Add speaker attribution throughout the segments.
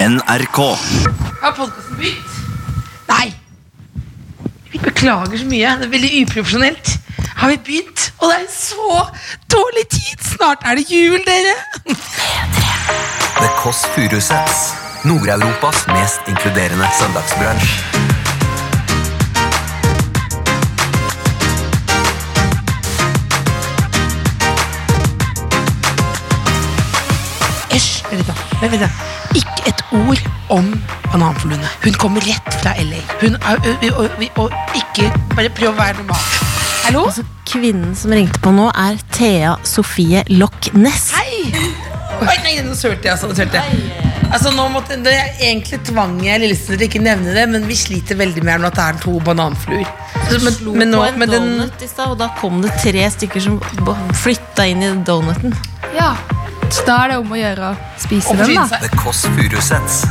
Speaker 1: NRK.
Speaker 2: Har podkasten begynt? Nei. Beklager så mye. Det er veldig uprofesjonelt. Har vi begynt? Og det er så dårlig tid! Snart er det jul, dere.
Speaker 1: The Kåss Furuseths. Nord-Europas mest inkluderende søndagsbransj.
Speaker 2: Æsj. Vent litt, da. Vent, vent, da. Ikke et ord om bananfluene. Hun kommer rett fra LA. Hun er, ø, ø, ø, ø, og ikke Bare prøv å være normal. Hallo?
Speaker 3: Altså, kvinnen som ringte på nå er Thea Sofie Loch Ness.
Speaker 2: Hei! Oi, nei, nå sølte jeg, altså. Nå sølte jeg. Altså, nå måtte, det er egentlig tvang jeg Lillesund til ikke nevne det, men vi sliter veldig med her nå at det er to bananfluer. Så, Men,
Speaker 3: Slo
Speaker 2: men, nå,
Speaker 3: på en
Speaker 2: men den,
Speaker 3: donut i stad, og da kom det tre stykker som b- flytta inn i donuten.
Speaker 4: Ja. Så da er det om å gjøre å spise
Speaker 2: Om
Speaker 4: dem,
Speaker 2: å
Speaker 4: da.
Speaker 2: spise.
Speaker 1: The Kåss Furuseths.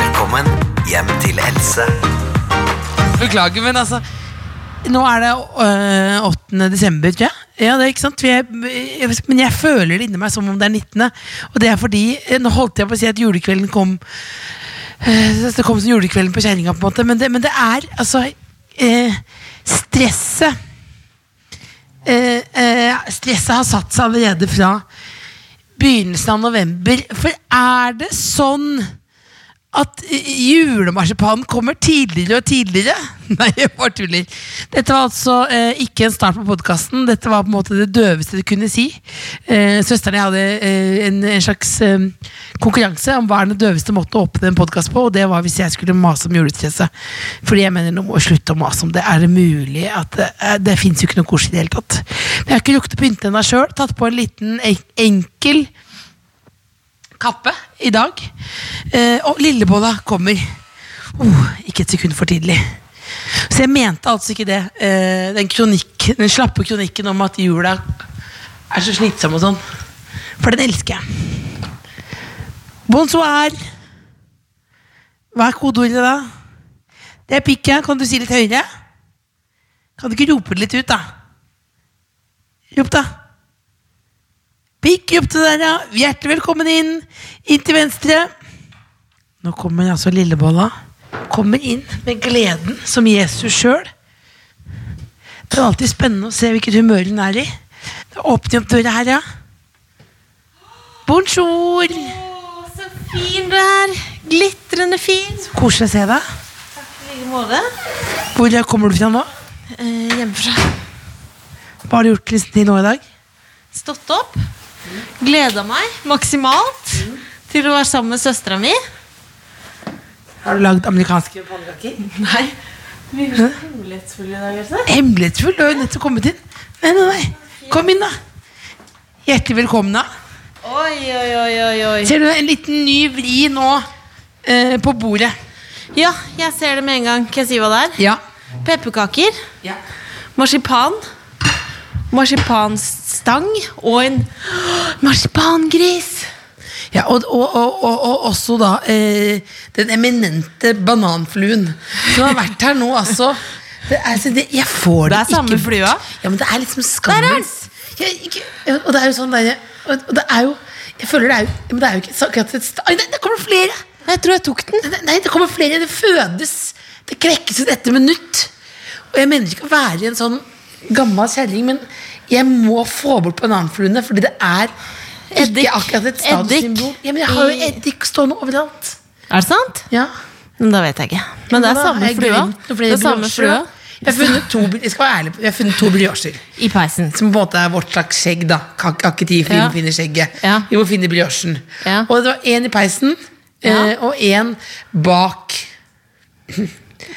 Speaker 1: Velkommen hjem til Else.
Speaker 2: Beklager, men altså Nå er det øh, 8. desember, tror jeg. Ja, det er ikke sant? Vi er- jeg- Men jeg føler det inni meg som om det er 19. Og det er fordi eh, Nå holdt jeg på å si at julekvelden kom eh, Det kom som julekvelden på kjerringa, på en måte. Men det, men det er altså eh, Stresset eh, eh, Stresset har satt seg allerede fra begynnelsen av november. For er det sånn at eh, julemarsipanen kommer tidligere og tidligere. Nei, jeg bare tuller. Dette var altså eh, ikke en start på podkasten. Dette var på en måte det døveste du kunne si. Eh, søsteren og jeg hadde eh, en, en slags eh, konkurranse om hva er den døveste måten å åpne en podkast på, og det var hvis jeg skulle mase om julestresset. Fordi jeg mener nå må vi slutte å mase om det. Er det mulig at det, eh, det fins jo ikke noe koselig i det hele tatt. Men jeg har ikke rukket å pynte ennå sjøl. Tatt på en liten en- enkel kappe i dag. Eh, og lillebolla kommer. Oh, ikke et sekund for tidlig. Så jeg mente altså ikke det. Eh, den, kronikk, den slappe kronikken om at jula er så slitsom og sånn. For den elsker jeg. Bonsoir. Hva er kodeordet, da? Det er pikka. Kan du si litt høyere? Kan du ikke rope det litt ut, da? Rop, da. Pikk opp til der, ja. Hjertelig velkommen inn. Inn til venstre. Nå kommer altså lillebolla. Kommer inn med gleden som Jesus sjøl. Det er alltid spennende å se hvilket humør hun er i. Da åpner jeg opp døra her, ja. Bonjour.
Speaker 3: Så fin du er! Glitrende fin.
Speaker 2: Koselig å se deg.
Speaker 3: I like måte.
Speaker 2: Hvor kommer du fra nå?
Speaker 3: Eh, hjemmefra.
Speaker 2: Hva har du gjort liksom til nå i dag?
Speaker 3: Stått opp. Gleda meg maksimalt til å være sammen med søstera mi.
Speaker 2: Har du lagd amerikanske pannekaker?
Speaker 3: Nei. Hemmelighetsfull i dag, altså.
Speaker 2: Hemmelighetsfull. Du har jo nettopp kommet inn. Nei, nei, nei. Kom inn, da. Hjertelig velkommen. da.
Speaker 3: Oi, oi, oi, oi, oi.
Speaker 2: Ser du en liten ny vri nå eh, på bordet?
Speaker 3: Ja, jeg ser det med en gang. Kan jeg si hva det er?
Speaker 2: Ja.
Speaker 3: Pepperkaker. Marsipan. Marsipanstang og en marsipangris.
Speaker 2: og, og, og, og, og også da eh, den eminente bananfluen som har vært her nå, altså. Det er, altså, det, jeg får det,
Speaker 3: Det er
Speaker 2: ikke
Speaker 3: samme
Speaker 2: bort.
Speaker 3: flua.
Speaker 2: Ja, men det er liksom skammens jeg, ikke, Og det er jo sånn der, og, og det er jo Jeg føler det er jo Men det er jo ikke akkurat et sta- Oi, det, det kommer flere!
Speaker 3: Jeg tror jeg tok den.
Speaker 2: Nei, Nei, det kommer flere. Det fødes. Det krekkes ut etter minutt. Og jeg mener ikke å være en sånn gammel kjerring, men jeg må få bort bananfluene, fordi det er
Speaker 3: Eddik.
Speaker 2: ikke akkurat et statussymbol.
Speaker 3: Eddik.
Speaker 2: Ja, men jeg har jo eddik stående overalt.
Speaker 3: Er det sant?
Speaker 2: Ja.
Speaker 3: Men da vet jeg ikke. Men det er samme flua. Det er samme flua
Speaker 2: Jeg har funnet to, jeg skal være ærlig, på- jeg har funnet to briocher.
Speaker 3: i peisen.
Speaker 2: Som på en måte er vårt slags skjegg, da. Kan kan ikke de finne,
Speaker 3: Ja.
Speaker 2: finne skjegget.
Speaker 3: Ja.
Speaker 2: Vi må finne briochen.
Speaker 3: Ja.
Speaker 2: Og det var én i peisen, eh, og én bak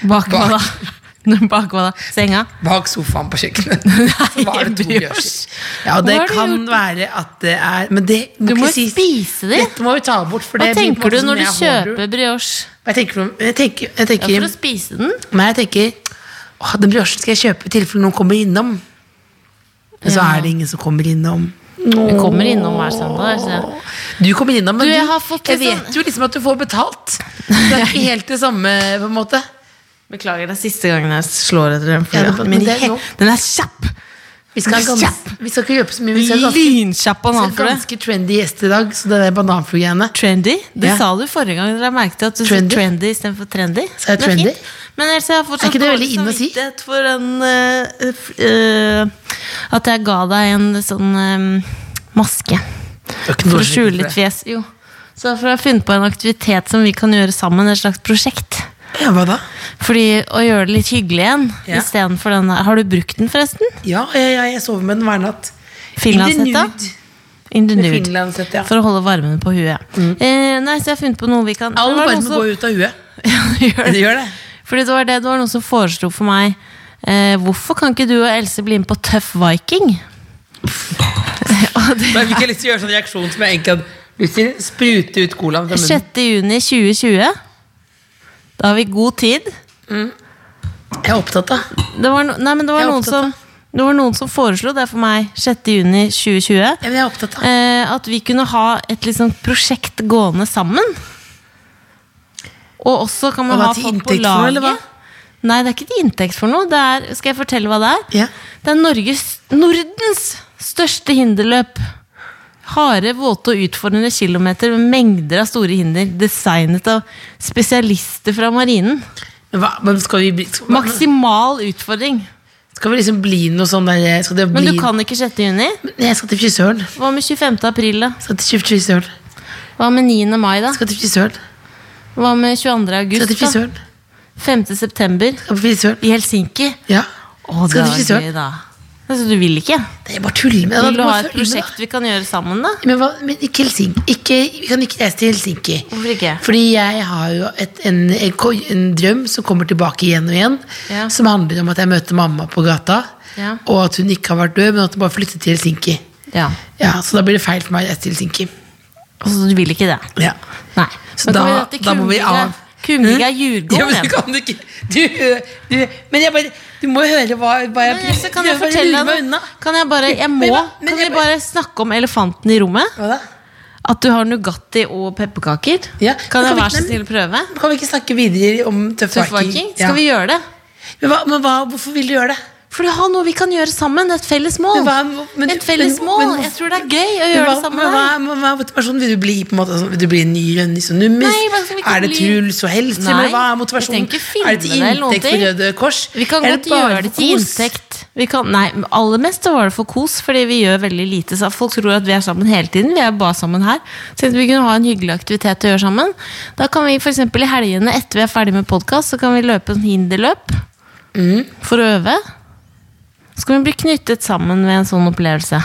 Speaker 3: Bak hva da?
Speaker 2: Bak.
Speaker 3: Bak hva da? Senga?
Speaker 2: bak sofaen på kjøkkenet. Så var det to
Speaker 3: brioche.
Speaker 2: briocher. Ja, det
Speaker 3: Hva har du
Speaker 2: kan
Speaker 3: gjort?
Speaker 2: være at det er Men det
Speaker 3: Du må
Speaker 2: ikke
Speaker 3: jo spise de.
Speaker 2: Dette må vi ta bort. For
Speaker 3: Hva
Speaker 2: det blir på en
Speaker 3: tenker du
Speaker 2: måte
Speaker 3: når du
Speaker 2: som jeg holder-
Speaker 3: kjøper brioche?
Speaker 2: Hva tenker du om- Jeg tenker, jeg
Speaker 3: Ja, for
Speaker 2: tenker,
Speaker 3: å spise den?
Speaker 2: Nei, jeg tenker Åh, den briochen skal jeg kjøpe i tilfelle noen kommer innom. Men så
Speaker 3: Ja.
Speaker 2: er det ingen som kommer innom.
Speaker 3: Vi kommer innom hver søndag. Så.
Speaker 2: Du kommer innom, men
Speaker 3: Du,
Speaker 2: du,
Speaker 3: jeg
Speaker 2: jeg,
Speaker 3: har fått litt sånn-
Speaker 2: vet jo liksom at du får betalt. Det er ikke helt det samme, på en måte.
Speaker 3: Beklager, det er siste gangen jeg slår etter den
Speaker 2: Ja, det-
Speaker 3: flua.
Speaker 2: men
Speaker 3: Men
Speaker 2: det er
Speaker 3: he-
Speaker 2: lov.
Speaker 3: den er kjapp!
Speaker 2: Vi
Speaker 5: skal, ha gans, vi skal ikke kjøpe så mye. Vi skal ha ganske,
Speaker 3: Lynkjapp bananflue.
Speaker 5: ganske trendy gjest i dag, så det der bananflugreiene
Speaker 3: Trendy? Det
Speaker 5: Ja.
Speaker 3: sa du forrige gang. Dere merket at du
Speaker 5: Trendy.
Speaker 3: sa trendy istedenfor trendy.
Speaker 5: Sa jeg
Speaker 3: Det er
Speaker 5: trendy?
Speaker 3: fint. Men ellers har jeg
Speaker 5: Er
Speaker 3: fortsatt
Speaker 5: ikke det veldig inn å si?
Speaker 3: samvittighet for en eh, f- eh, At jeg ga deg en sånn eh, maske for å skjule ditt fjes. Jo. Så for å finne på en aktivitet som vi kan gjøre sammen. Et slags prosjekt.
Speaker 2: Ja, hva da?
Speaker 3: Fordi å gjøre det litt hyggelig igjen
Speaker 2: Ja.
Speaker 3: istedenfor den der Har du brukt den, forresten?
Speaker 2: Ja, jeg, jeg, jeg sover med den hver natt.
Speaker 3: Finlandshetta? In the
Speaker 2: Med
Speaker 3: nude.
Speaker 2: Finlandshette, ja.
Speaker 3: For å holde varmen på huet.
Speaker 5: Mm.
Speaker 3: Eh, nei, så jeg har funnet på noe vi kan
Speaker 2: All
Speaker 3: Det var noen
Speaker 2: varme
Speaker 3: som-
Speaker 2: går ut av huet.
Speaker 3: Gjør
Speaker 2: Det
Speaker 3: det.
Speaker 2: gjør det.
Speaker 3: Fordi det var det det var noen som foreslo for meg. Eh, hvorfor kan ikke du og Else bli med på Tøff Viking? Og det-
Speaker 2: Men vi kan liksom gjøre sånn reaksjon som jeg egentlig hadde lyst til. Sprute ut colaen fra munnen.
Speaker 3: 6. juni 2020. Da har vi god tid.
Speaker 5: Jeg er opptatt av.
Speaker 3: Det var, no, nei, men det var,
Speaker 5: Jeg er
Speaker 3: noen,
Speaker 5: opptatt
Speaker 3: som, det var noen som foreslo det for meg 6. juni 2020.
Speaker 5: Ja, men jeg er opptatt av.
Speaker 3: eh, at vi kunne ha et liksom prosjekt gående sammen. Og også kan man
Speaker 2: Og da
Speaker 3: ha
Speaker 2: til
Speaker 3: folk på
Speaker 2: inntekt for noe, eller hva?
Speaker 3: laget. Nei, det er ikke til inntekt for noe. Det er, skal jeg fortelle hva det er?
Speaker 2: Ja.
Speaker 3: Det er Norges, Nordens største hinderløp. Harde, våte og utfordrende kilometer med mengder av store hinder. Designet av spesialister fra marinen.
Speaker 2: Men hva, men skal, vi, bli- skal,
Speaker 3: Maksimal utfordring.
Speaker 2: skal vi liksom bli noe sånn der Skal det
Speaker 3: Men
Speaker 2: bli
Speaker 3: du kan ikke 6. juni.
Speaker 2: Nei, Jeg skal til frisøren.
Speaker 3: Hva med 25. april, da?
Speaker 2: Skal til frisøren.
Speaker 3: Hva med 9. mai, da?
Speaker 2: Skal til frisøren.
Speaker 3: Hva med 22.
Speaker 2: Skal til
Speaker 3: august? da?
Speaker 2: frisøren.
Speaker 3: 5. september
Speaker 2: Skal til frisøren.
Speaker 3: i Helsinki.
Speaker 2: Ja. Skal
Speaker 3: Å, det
Speaker 2: til
Speaker 3: var
Speaker 2: frisøren.
Speaker 3: gøy, da. Altså, du vil ikke?
Speaker 2: Det er bare tuller med
Speaker 3: Vil du
Speaker 2: da.
Speaker 3: ha
Speaker 2: Bare
Speaker 3: et
Speaker 2: følg med, da.
Speaker 3: prosjekt vi kan gjøre sammen, da?
Speaker 2: Men, hva, men ikke Helsinki. Ikke, vi kan ikke reise til Helsinki.
Speaker 3: Hvorfor ikke?
Speaker 2: Fordi jeg har jo et, en, en, ko- en drøm som kommer tilbake igjen og igjen.
Speaker 3: Ja.
Speaker 2: Som handler om at jeg møter mamma på gata,
Speaker 3: Ja.
Speaker 2: og at hun ikke har vært død, men at hun bare flyttet til Helsinki.
Speaker 3: Ja.
Speaker 2: Ja, Så da blir det feil for meg å reise til Helsinki.
Speaker 3: Altså, du vil ikke det?
Speaker 2: Ja.
Speaker 3: Nei.
Speaker 2: Så
Speaker 3: Men kan
Speaker 2: da-
Speaker 3: vi dra til
Speaker 2: da må vi
Speaker 3: Kumliga-
Speaker 2: av.
Speaker 3: Kumliga
Speaker 2: Hæ? Ja, men
Speaker 3: Djurgården.
Speaker 2: du kan ikke du, du, Men jeg bare, du må jo høre hva, hva jeg
Speaker 3: Men Else, kan jeg
Speaker 2: bare
Speaker 3: fortelle
Speaker 2: lurer meg
Speaker 3: deg
Speaker 2: unna.
Speaker 3: noe? Kan jeg bare, jeg må,
Speaker 2: Men hva- men
Speaker 3: kan
Speaker 2: jeg
Speaker 3: vi bare snakke om elefanten i rommet?
Speaker 2: Hva da?
Speaker 3: At du har Nugatti og pepperkaker?
Speaker 2: Ja, men kan
Speaker 3: Kan jeg
Speaker 2: vi-
Speaker 3: være så
Speaker 2: nei,
Speaker 3: snill å prøve?
Speaker 2: Kan vi ikke snakke videre om Tøff
Speaker 3: Tøff
Speaker 2: Viking?
Speaker 3: Viking? Skal vi gjøre det?
Speaker 2: Men, hva, men hva, hvorfor vil du gjøre det?
Speaker 3: For det har noe vi kan gjøre sammen. Et felles
Speaker 2: Men
Speaker 3: mål.
Speaker 2: hva- men-
Speaker 3: et felles
Speaker 2: men-
Speaker 3: mål.
Speaker 2: men hvorfor-
Speaker 3: jeg tror det er gøy å gjøre
Speaker 2: Men hva,
Speaker 3: det sammen.
Speaker 2: men
Speaker 3: med
Speaker 2: hva,
Speaker 3: deg.
Speaker 2: men hva er motivasjonen? Vil du bli på en måte sånn, Vil du bli en ny Rønnis og Nummis?
Speaker 3: Nei, hva skal vi ikke
Speaker 2: Er det
Speaker 3: bli?
Speaker 2: Truls og Helstrøm?
Speaker 3: Nei,
Speaker 2: eller Hva er
Speaker 3: vi
Speaker 2: motivasjonen?
Speaker 3: trenger ikke
Speaker 2: Er det til
Speaker 3: finne det eller noen
Speaker 2: inntekt for
Speaker 3: ting.
Speaker 2: Røde Kors?
Speaker 3: Vi kan
Speaker 2: Er
Speaker 3: godt
Speaker 2: bare
Speaker 3: gjøre det
Speaker 2: for
Speaker 3: til
Speaker 2: kos?
Speaker 3: inntekt. Vi kan, nei, men aller mest så var det for kos, fordi vi gjør veldig lite. Så folk tror at vi er sammen hele tiden. Vi er bare sammen her. Så vi kunne ha en hyggelig aktivitet å gjøre sammen. Da kan vi f.eks. i helgene etter vi er ferdig med podkast, så kan vi løpe en hinderløp. For å øve. Så kan vi bli knyttet sammen ved en sånn opplevelse.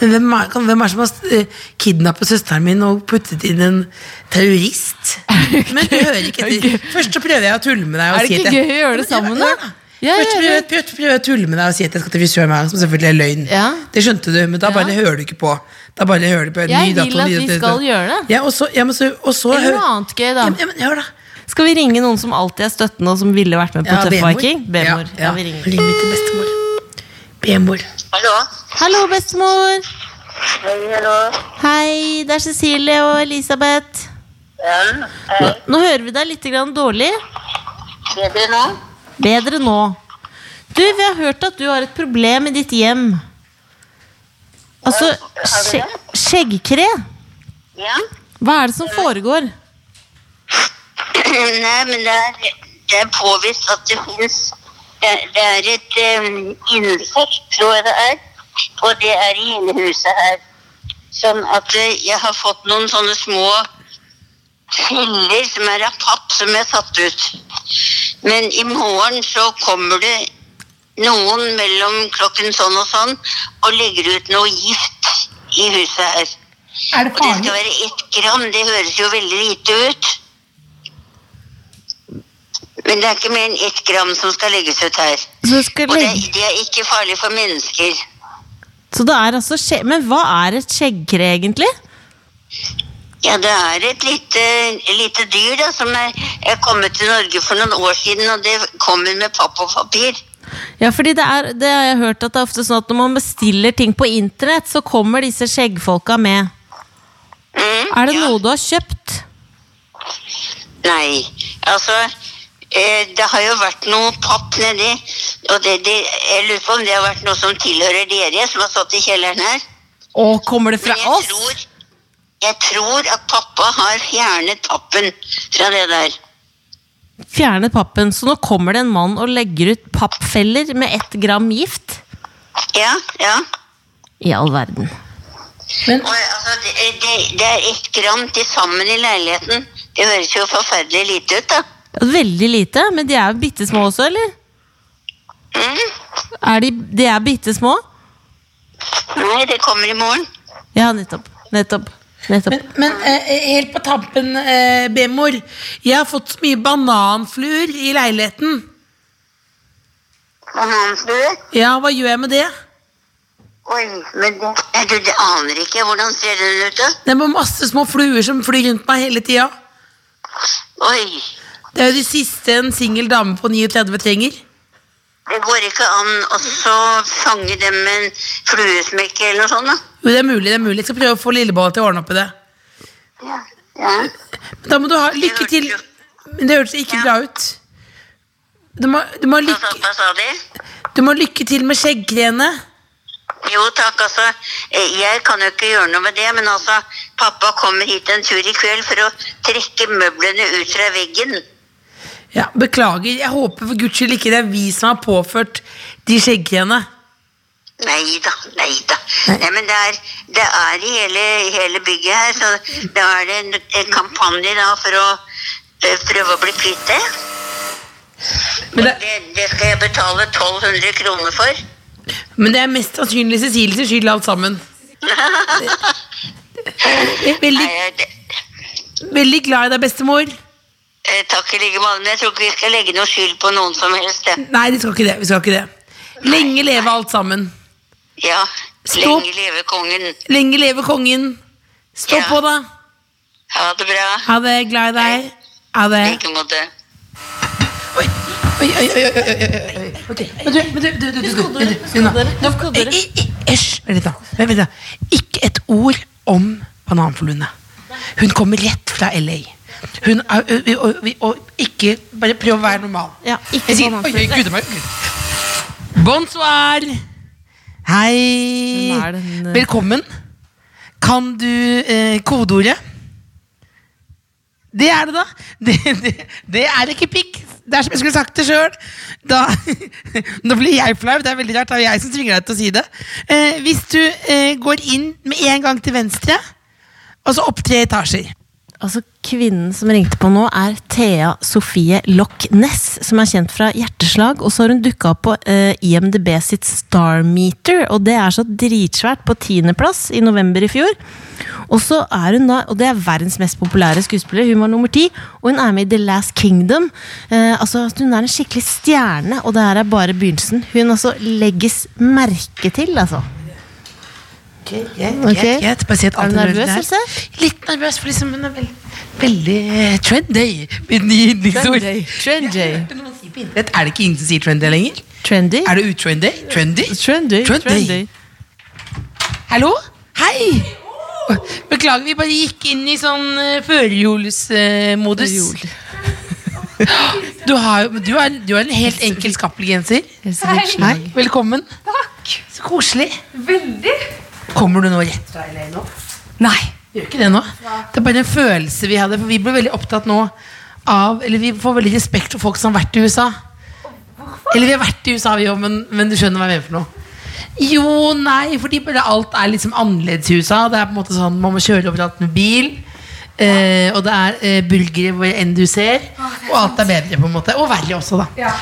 Speaker 2: Men hvem er, kan, hvem er som har eh, kidnappet søsteren min og puttet inn en terrorist? Men du hører ikke etter. Først så prøver jeg å tulle med deg. Og
Speaker 3: Er det
Speaker 2: si at
Speaker 3: ikke
Speaker 2: jeg-
Speaker 3: gøy å gjøre det
Speaker 2: Ja, men
Speaker 3: sammen,
Speaker 2: hør
Speaker 3: da? Ja,
Speaker 2: Først
Speaker 3: ja,
Speaker 2: prøver
Speaker 3: ja.
Speaker 2: jeg prøver- prøver jeg å tulle med deg og si at jeg skal til frisør med deg, som selvfølgelig er løgn.
Speaker 3: Ja.
Speaker 2: Det skjønte du, men da bare
Speaker 3: Ja.
Speaker 2: hører du ikke på. Da bare hører du på en ny
Speaker 3: Jeg vil
Speaker 2: dato,
Speaker 3: at
Speaker 2: ny
Speaker 3: vi
Speaker 2: dato.
Speaker 3: skal gjøre det.
Speaker 2: Ja, og så, ja, men så, og så
Speaker 3: Eller noe
Speaker 2: hører-
Speaker 3: annet gøy, da.
Speaker 2: Ja, men- ja, men hør da.
Speaker 3: Skal vi ringe noen som alltid er støttende, og som ville vært med på
Speaker 2: Ja,
Speaker 3: Tøff
Speaker 2: B-mor.
Speaker 3: Viking? B-mor.
Speaker 2: Ja, ja.
Speaker 3: Ja, vi ringer.
Speaker 2: Ring til bestemor. B-mor.
Speaker 6: Hallo?
Speaker 3: Hallo, bestemor!
Speaker 6: Hei, hallo.
Speaker 3: Hei, det er Cecilie og Elisabeth.
Speaker 6: Ja, hei.
Speaker 3: Nå hører vi deg litt grann dårlig.
Speaker 6: Bedre nå?
Speaker 3: Bedre nå. Du, vi har hørt at du har et problem i ditt hjem. Altså, skje skjeggkre.
Speaker 6: Ja?
Speaker 3: Hva er det som foregår?
Speaker 6: Nei, men det er, det er påvist at det finnes Det det er et em, insekt, tror jeg det er, og det er i innehuset her. Sånn at eh, jeg har fått noen sånne små filler som er av papp som er satt ut. Men i morgen så kommer det noen mellom klokken sånn og sånn og legger ut noe gift i huset her.
Speaker 2: Er det
Speaker 6: Og det skal være ett gram, det høres jo veldig lite ut. Men det er ikke mer enn ett gram som skal legges ut her.
Speaker 3: Så, skal
Speaker 6: Og det,
Speaker 3: legge.
Speaker 6: det er ikke farlig for mennesker.
Speaker 3: Så det er altså skje Men hva er et skjeggkre, egentlig?
Speaker 6: Ja, det er et lite, lite dyr da, som er, er kommet til Norge for noen år siden, og det kommer med papp og papir.
Speaker 3: Ja, fordi det, er, det har jeg hørt at det er ofte sånn at når man bestiller ting på internett, så kommer disse skjeggfolka med.
Speaker 6: Mm,
Speaker 3: Er det
Speaker 6: ja.
Speaker 3: noe du har kjøpt?
Speaker 6: Nei, altså eh, det har jo vært noe papp nedi, Og det, det, jeg lurer på om det har vært noe som tilhører dere, som har stått i kjelleren her.
Speaker 3: Å, kommer det fra
Speaker 6: Men jeg
Speaker 3: oss?
Speaker 6: tror, jeg tror at pappa har fjernet tappen fra det der.
Speaker 3: Fjerne pappen. Så nå kommer det en mann og legger ut pappfeller med ett gram gift?
Speaker 6: Ja, ja.
Speaker 3: I all verden.
Speaker 6: Og, altså, det, det, det er ett gram til sammen i leiligheten. Det høres jo forferdelig lite ut, da.
Speaker 3: Veldig lite, men de er jo bitte små også, eller?
Speaker 6: Mm.
Speaker 3: Er de, de er bitte små?
Speaker 6: Nei, det kommer i morgen.
Speaker 3: Ja, nettopp. Nettopp. nettopp.
Speaker 2: Men eh, helt på tampen, eh, B-mor. Jeg har fått så mye bananfluer i leiligheten.
Speaker 6: Bananflue?
Speaker 2: Ja, hva gjør jeg med det?
Speaker 6: Oi, men det, Nei, du, det aner ikke. Hvordan ser den ut, da?
Speaker 2: Det er bare masse små fluer som flyr rundt meg hele tida.
Speaker 6: Oi,
Speaker 2: Det er jo det siste en singel dame på 39 trenger.
Speaker 6: det går ikke an å så fange dem med en fluesmekk eller noe sånt, da.
Speaker 2: Jo, det er mulig. det er mulig Jeg skal prøve å få lillebolla til å ordne opp i det.
Speaker 6: Ja. ja.
Speaker 2: Men da må du ha lykke til. Men det hørtes ikke bra ut. Du må, du, må ha
Speaker 6: Hva, sa,
Speaker 2: lykke,
Speaker 6: hva sa de?
Speaker 2: du må ha lykke til med skjeggkreene.
Speaker 6: Jo takk, altså. eh, Jeg kan jo ikke gjøre noe med det, men altså, pappa kommer hit en tur i kveld for å trekke møblene ut fra veggen.
Speaker 2: Ja, beklager. Jeg håper for guds skyld ikke det er vi som har påført de skjeggkreene.
Speaker 6: Nei da, nei da. Nei, men det er, det er i hele, hele bygget her, så da er det en, en kampanje da for å eh, prøve å bli kvitt det.
Speaker 2: Men
Speaker 6: Og det, det skal jeg betale 1200 kroner for.
Speaker 2: Men det er mest sannsynlig Cecilie sin skyld, alt sammen. Veldig,
Speaker 6: Nei, jeg- det,
Speaker 2: veldig glad i deg, bestemor.
Speaker 6: eh, takk i like måte, men jeg tror ikke vi skal legge noe skyld på noen som helst. Det.
Speaker 2: Nei, vi skal ikke det. Vi skal ikke det. Lenge leve alt sammen.
Speaker 6: Ja,
Speaker 2: Stopp.
Speaker 6: lenge leve kongen.
Speaker 2: Lenge leve kongen. Stå
Speaker 6: Ja.
Speaker 2: på, da.
Speaker 6: Ha det bra.
Speaker 2: Ha det. Glad i deg. Ha det.
Speaker 6: I like måte.
Speaker 2: Men du, men du, du, du, du, du, du, du Una. Nå-
Speaker 3: dere.
Speaker 2: I- i- Æsj! Vent litt, da. Vent litt da. Ikke et ord om bananfluene. Hun kommer rett fra LA. Hun er, ø- ø- ø- vi- og ikke Bare prøv å være normal.
Speaker 3: Ja, ikke
Speaker 2: Jeg sier,
Speaker 3: bananflue.
Speaker 2: oi, oi, gud, meg, gud. Bonsoir! Hei.
Speaker 3: Hvem er den, eh?
Speaker 2: Velkommen. Kan du eh, kodeordet? Det er det, da. Det, det, det er ikke pikk. Det er som jeg skulle sagt det sjøl. Nå blir jeg flau. Det er veldig rart. Det er jo jeg som tvinger deg til å si det. Eh, hvis du eh, går inn med en gang til venstre, og så opp tre etasjer.
Speaker 3: Altså, Kvinnen som ringte på nå, er Thea Sofie Loch Ness, som er kjent fra Hjerteslag. Og så har hun dukka opp på eh, IMDb sitt Star Meter, og det er så dritsvært, på tiendeplass i november i fjor. Og så er hun da, og det er verdens mest populære skuespiller, hun var nummer ti. Og hun er med i The Last Kingdom. Eh, altså, Hun er en skikkelig stjerne, og det her er bare begynnelsen. Hun altså legges merke til, altså.
Speaker 2: Greit,
Speaker 3: Ok.
Speaker 2: greit. Bare si at alt
Speaker 3: Er du
Speaker 2: er
Speaker 3: nervøs,
Speaker 2: der.
Speaker 3: Else?
Speaker 2: Litt nervøs, for liksom hun er veld, veldig eh, trendy. Mitt nye yndlingsord.
Speaker 3: Trendy, trendy.
Speaker 2: Jeg hørte noen si på internett, Er det ikke ingen som sier trendy lenger?
Speaker 3: Trendy.
Speaker 2: Er det utrendy? Trendy?
Speaker 3: Trendy.
Speaker 2: Trendy. Hallo? Hei! Beklager, vi bare gikk inn i sånn eh, førjulsmodus. du, har, jo- du, har, du har en helt enkel skappelgenser. Hei, velkommen. Takk. Så koselig.
Speaker 4: Veldig.
Speaker 2: Kommer du nå rett fra LA nå?
Speaker 4: Nei.
Speaker 2: Gjør ikke det nå. Det er bare en følelse vi hadde, for vi ble veldig opptatt nå av Eller vi får veldig respekt for folk som har vært i USA. Eller vi har vært i USA, vi òg, men, men du skjønner hva jeg mener for noe. Jo, nei, fordi bare alt er liksom annerledes i USA. Det er på en måte sånn, Man må kjøre overalt med bil. Eh, og det er eh, bulgere hvor enn du ser. Og alt er bedre, på en måte. Og verre også, da.
Speaker 4: Ja.